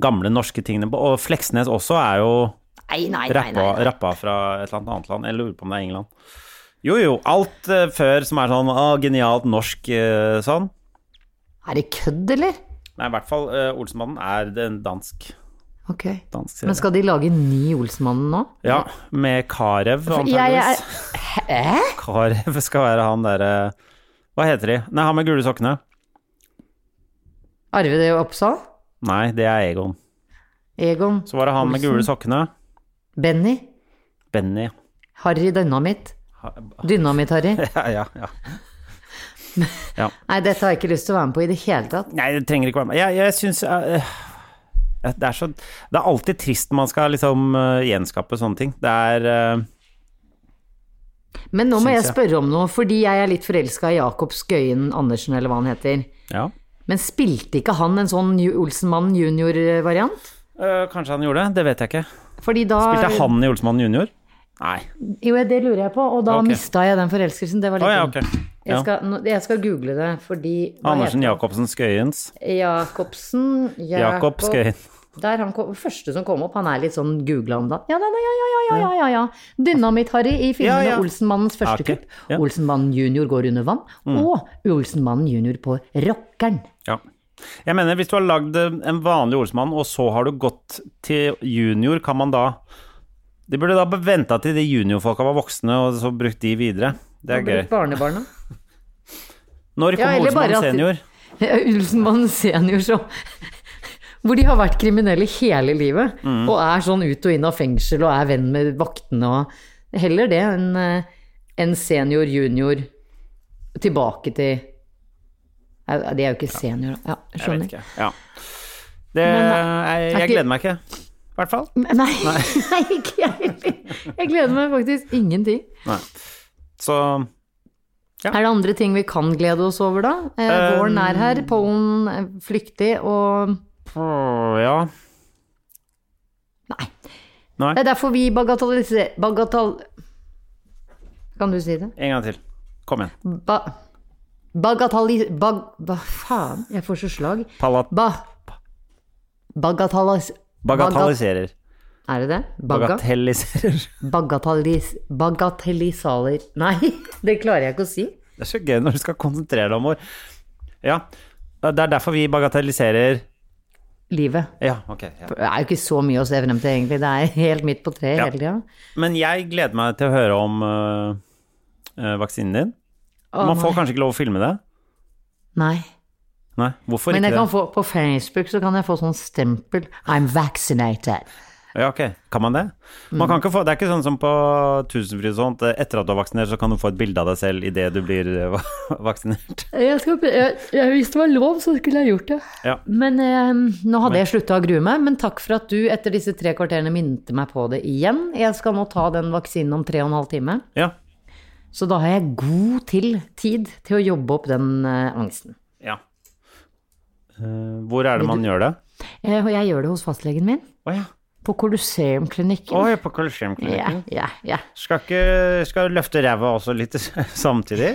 Speaker 1: gamle norske tingene. Og Fleksnes også er jo
Speaker 2: Nei, nei, nei.
Speaker 1: rappa,
Speaker 2: nei, nei.
Speaker 1: rappa fra et eller annet annet land. Jeg lurer på om det er England. Jo, jo. Alt eh, før som er sånn å, genialt norsk eh, sånn.
Speaker 2: Er det kødd, eller?
Speaker 1: Nei, i hvert fall eh, Olsenmannen er det en dansk,
Speaker 2: Ok.
Speaker 1: dansk serie.
Speaker 2: Men skal de lage en ny Olsenmannen nå?
Speaker 1: Ja, med Karev,
Speaker 2: Jeg er
Speaker 1: antakeligvis.
Speaker 2: Hæ?
Speaker 1: Karev skal være han derre Hva heter de? Nei, han med gule sokkene.
Speaker 2: Arve det Oppsal?
Speaker 1: Nei, det er Egon.
Speaker 2: Egon?
Speaker 1: Så var det han med gule
Speaker 2: Olsen.
Speaker 1: sokkene.
Speaker 2: Benny?
Speaker 1: Benny. [laughs]
Speaker 2: Harry Dynamitt? Dynamitt-Harry?
Speaker 1: Ja, ja, ja.
Speaker 2: Nei, dette har jeg ikke lyst til å være med på i det hele tatt.
Speaker 1: Nei, det trenger ikke være med. Jeg, jeg syns eh, eh, det, er så, det er alltid trist når man skal liksom eh, gjenskape sånne ting. Det er eh,
Speaker 2: Men nå må jeg
Speaker 1: Syns jeg.
Speaker 2: spørre om noe, fordi jeg er litt forelska i Jakob Skøyen Andersen, eller hva han heter.
Speaker 1: Ja.
Speaker 2: Men spilte ikke han en sånn Ju- Olsenmann junior-variant?
Speaker 1: Eh, kanskje han gjorde det? Det vet jeg ikke.
Speaker 2: Fordi da
Speaker 1: Spilte han i Olsmann junior? Nei.
Speaker 2: Jo, det lurer jeg på, og da
Speaker 1: Ok.
Speaker 2: mista jeg den forelskelsen. Det var
Speaker 1: Å
Speaker 2: litt
Speaker 1: ja,
Speaker 2: dumt.
Speaker 1: ok.
Speaker 2: jeg,
Speaker 1: Ja.
Speaker 2: skal, nå- jeg skal google det, fordi hva
Speaker 1: Andersen
Speaker 2: heter han?
Speaker 1: Jacobsen Skøyens.
Speaker 2: Jakobsen
Speaker 1: Jakob Skøyen.
Speaker 2: Der han kom, første som kom opp, han er litt sånn googla om dagen. Ja, nei, nei, ja, ja, ja, ja, ja, ja. Dynamitt-Harry i filmen
Speaker 1: Ja, ja.
Speaker 2: Olsenmannens første
Speaker 1: Ok,
Speaker 2: kupp.
Speaker 1: ja. Mm.
Speaker 2: Olsenmannen junior går under vann. Og Olsenmannen junior på rockeren.
Speaker 1: Ja. Jeg mener, hvis du har lagd eh, en vanlig ordsmann, og så har du gått til junior, kan man da De burde da venta til de juniorfolka var voksne, og så brukt de videre. Det er gøy.
Speaker 2: Barnebarna.
Speaker 1: Når
Speaker 2: Ja,
Speaker 1: kom
Speaker 2: eller
Speaker 1: ordsmann
Speaker 2: bare at de-
Speaker 1: senior?
Speaker 2: Ja, Olsenmannen senior så Hvor de har vært kriminelle hele livet,
Speaker 1: Mm.
Speaker 2: og er sånn ut og inn av fengsel og er venn med vaktene og Heller det enn eh, en senior, junior, tilbake til Nei, De er jo ikke senior, da. Ja,
Speaker 1: Jeg vet
Speaker 2: skjønner. eh,
Speaker 1: ikke. Ja. Det, jeg,
Speaker 2: er
Speaker 1: jeg
Speaker 2: ikke-
Speaker 1: gleder meg ikke. I hvert fall.
Speaker 2: Men- Nei, [laughs] nei ikke jeg heller. Jeg gleder meg faktisk ingenting.
Speaker 1: Så
Speaker 2: Er det andre ting vi kan glede oss over, da? Eh, våren er her,
Speaker 1: Um,
Speaker 2: pollen er flyktig og
Speaker 1: åh, ja.
Speaker 2: Nei.
Speaker 1: Nei.
Speaker 2: Det er derfor vi bagatelliserer Bagatell... Kan du si det?
Speaker 1: En gang til. Kom igjen.
Speaker 2: Ba... Bagatellis... Bag... Hva faen? Jeg får så slag.
Speaker 1: Palat
Speaker 2: Ba... Bagatellis...
Speaker 1: bagatelliserer.
Speaker 2: Baga- Er det det? Baga...
Speaker 1: Bagatelliserer. [laughs]
Speaker 2: Bagatellis... Bagatellisaler... [laughs] Nei, det klarer jeg ikke å si.
Speaker 1: Det er så gøy når du skal konsentrere deg om ord. Ja. Det er derfor vi bagatelliserer
Speaker 2: Livet.
Speaker 1: Ja, ok. Ja.
Speaker 2: Det er jo ikke så mye å se frem til, egentlig. Det er helt midt på treet
Speaker 1: Ja.
Speaker 2: hele tida.
Speaker 1: Men jeg gleder meg til å høre om øh, øh, vaksinen din. Man får kanskje ikke lov å filme det?
Speaker 2: Nei.
Speaker 1: Nei, hvorfor
Speaker 2: Men jeg
Speaker 1: ikke
Speaker 2: kan
Speaker 1: det?
Speaker 2: få, på Facebook så kan jeg få sånn stempel I'm vaccinated.
Speaker 1: Ja, ok. Kan man det? Man kan ikke få, det er ikke sånn som på Tusenfryd og sånt. eh, Etter at du er vaksinert, så kan du få et bilde av deg selv idet du blir øh, [laughs] vaksinert.
Speaker 2: Jeg skal, jeg, jeg, hvis det var lov, så skulle jeg gjort det.
Speaker 1: Ja.
Speaker 2: Men eh, nå hadde jeg slutta å grue meg, men takk for at du etter disse tre kvarterene minte meg på det igjen. Jeg skal nå ta den vaksinen om tre og en halv time.
Speaker 1: Ja.
Speaker 2: Så da har jeg god til tid til å jobbe opp den eh, angsten.
Speaker 1: ja. Eh, hvor er det man gjør det?
Speaker 2: Eh, og jeg gjør det hos fastlegen min.
Speaker 1: Å ja.
Speaker 2: På Colosseumklinikken.
Speaker 1: Oi, på Colosseumklinikken.
Speaker 2: ja, ja, ja.
Speaker 1: Skal ikke skal løfte ræva også litt [laughs] samtidig?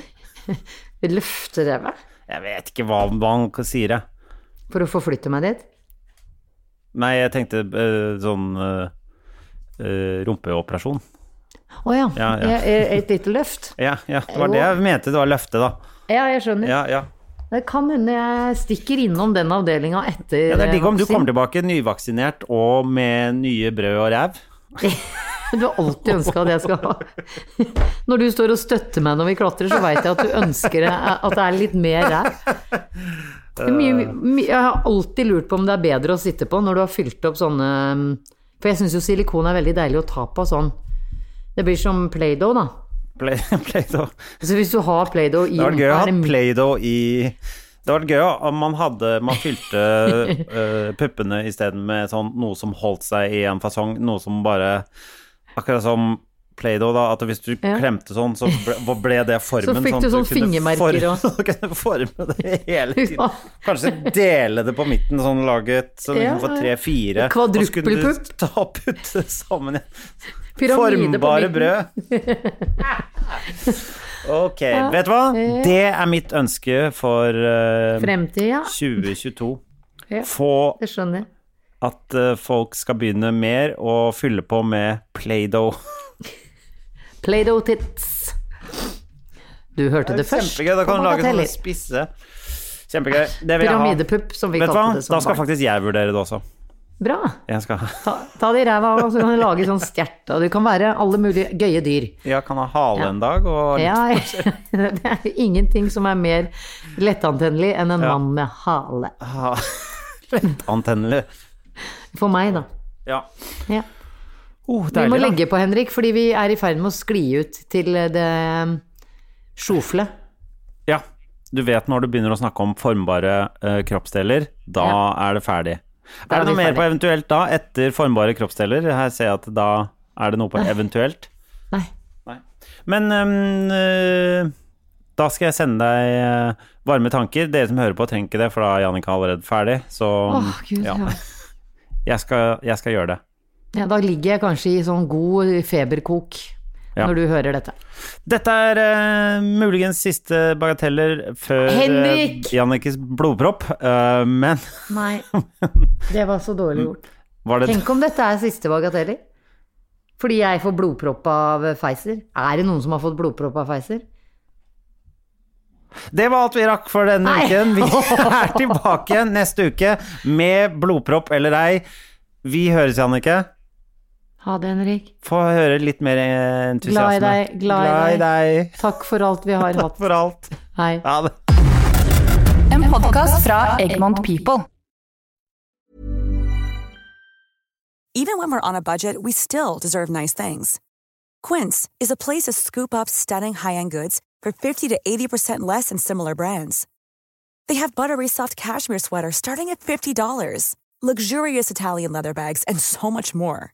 Speaker 2: Løfterevet.
Speaker 1: Jeg vet ikke hva man sier, jeg.
Speaker 2: For å forflytte meg dit.
Speaker 1: Nei, jeg tenkte eh, sånn eh, eh, rumpeoperasjon.
Speaker 2: Å ja.
Speaker 1: Ja, ja.
Speaker 2: Jeg- jeg- Et lite løft.
Speaker 1: Ja, ja, det var det jeg mente. Det var løftet, da.
Speaker 2: Ja, jeg skjønner.
Speaker 1: Ja, ja.
Speaker 2: Det kan hende jeg stikker innom den avdelinga etter
Speaker 1: ja det er digg om du
Speaker 2: vaksinen.
Speaker 1: kommer tilbake nyvaksinert og med nye brød og ræv.
Speaker 2: Du har alltid ønska at jeg skal ha Når du står og støtter meg når vi klatrer, så veit jeg at du ønsker det- at det er litt mer ræv. Det er mye- mye- Jeg har alltid lurt på om det er bedre å sitte på når du har fylt opp sånne um, For jeg syns jo silikon er veldig deilig å ta på sånn. Det blir som Play-Doh, da.
Speaker 1: Play- [laughs] Play-Doh.
Speaker 2: Så hvis du har Play-Doh i
Speaker 1: Det hadde vært gøy å
Speaker 2: rumpa, er
Speaker 1: ha
Speaker 2: det my-
Speaker 1: Play-Doh i Det hadde vært gøy om man hadde Man fylte
Speaker 2: [laughs]
Speaker 1: eh, puppene isteden med sånn noe som holdt seg i en fasong, noe som bare Akkurat som Play-Doh, da, at hvis du klemte sånn, så ble, hva ble det formen.
Speaker 2: [laughs] Så fikk
Speaker 1: sånn
Speaker 2: du
Speaker 1: at
Speaker 2: sånn
Speaker 1: kunne
Speaker 2: fingermerker
Speaker 1: forme-
Speaker 2: og-
Speaker 1: [laughs] Så kunne du forme det hele
Speaker 2: [laughs] Ja.
Speaker 1: tiden. Kanskje dele det på midten, sånn laget, så du
Speaker 2: Ja,
Speaker 1: kunne få tre-fire. Og så
Speaker 2: Kvadruppelpupp.
Speaker 1: kunne du ta og putte det sammen igjen.
Speaker 2: pyramide på
Speaker 1: Formbare
Speaker 2: midten. [laughs]
Speaker 1: brød. Ok, vet du hva? Det er mitt ønske for eh,
Speaker 2: Fremtid, ja.
Speaker 1: 2022.
Speaker 2: Ja.
Speaker 1: Få
Speaker 2: Det skjønner jeg.
Speaker 1: at eh, folk skal begynne mer å fylle på med Play-Doh.
Speaker 2: Play-Doh tits. Du hørte det først.
Speaker 1: Kjempegøy. Da kan
Speaker 2: på
Speaker 1: du lage
Speaker 2: Bagateller.
Speaker 1: sånne spisse Kjempegøy. Det vil jeg ha.
Speaker 2: Pyramidepupp, som vi
Speaker 1: Vet du hva?
Speaker 2: kalte det sånn. som
Speaker 1: Da skal
Speaker 2: barn.
Speaker 1: faktisk jeg vurdere det også.
Speaker 2: Bra.
Speaker 1: Jeg skal
Speaker 2: Ta, ta det i ræva, og så kan du lage sånn stjert. Og det kan være alle mulige gøye dyr.
Speaker 1: Jeg kan ha hale en dag og
Speaker 2: Ja, [laughs] det er ingenting som er mer lettantennelig enn en mann med hale.
Speaker 1: ha antennelig.
Speaker 2: For meg, da.
Speaker 1: Ja.
Speaker 2: Ja.
Speaker 1: Oh,
Speaker 2: Vi må
Speaker 1: deilig, da.
Speaker 2: legge på, Henrik, fordi vi er i ferd med å skli ut til det sjofle.
Speaker 1: Ja, du vet når du begynner å snakke om formbare eh, kroppsdeler, da er det ferdig. er
Speaker 2: Da er
Speaker 1: det noe
Speaker 2: vi
Speaker 1: mer
Speaker 2: ferdig.
Speaker 1: på eventuelt da, etter formbare kroppsdeler? Her ser jeg at da er det noe på eventuelt.
Speaker 2: Ah. Nei.
Speaker 1: Men ehm, eh, da skal jeg sende deg eh, varme tanker. Dere som hører på, trenger ikke det, for da er Jannika allerede ferdig. Så mm,
Speaker 2: Åh, gud,
Speaker 1: ja.
Speaker 2: ja.
Speaker 1: jeg, skal, jeg skal gjøre det.
Speaker 2: ja. Da ligger jeg kanskje i sånn god feberkok.
Speaker 1: Ja.
Speaker 2: når du hører dette.
Speaker 1: Dette er eh, muligens siste bagateller før eh,
Speaker 2: Henrik!
Speaker 1: Jannikes blodpropp, eh, men [laughs]
Speaker 2: Nei, det var så dårlig gjort.
Speaker 1: var det
Speaker 2: Tenk om dette er siste bagateller? Fordi jeg får blodpropp av eh, Pfizer. Er det noen som har fått blodpropp av Pfizer?
Speaker 1: Det var alt vi rakk for denne
Speaker 2: Nei.
Speaker 1: uken.
Speaker 2: [laughs]
Speaker 1: Vi er tilbake igjen neste uke med blodpropp eller ei. Vi høres, Jannike.
Speaker 2: Ha det, Henrik.
Speaker 1: Få høre litt mer eh, entusiasme.
Speaker 2: Glad i deg, glad i
Speaker 1: deg.
Speaker 2: Takk for alt vi har
Speaker 1: Takk
Speaker 2: hatt.
Speaker 1: for alt.
Speaker 2: Hei.
Speaker 1: Ha det.
Speaker 4: En podkast fra Egmont People.
Speaker 5: Even when we're on a budget, we still deserve nice things. Quince is a place to scoop up stunning high-end goods for 50 to 80% less than similar brands. They have buttery soft cashmere sweaters starting at $50, luxurious Italian leather bags, and so much more.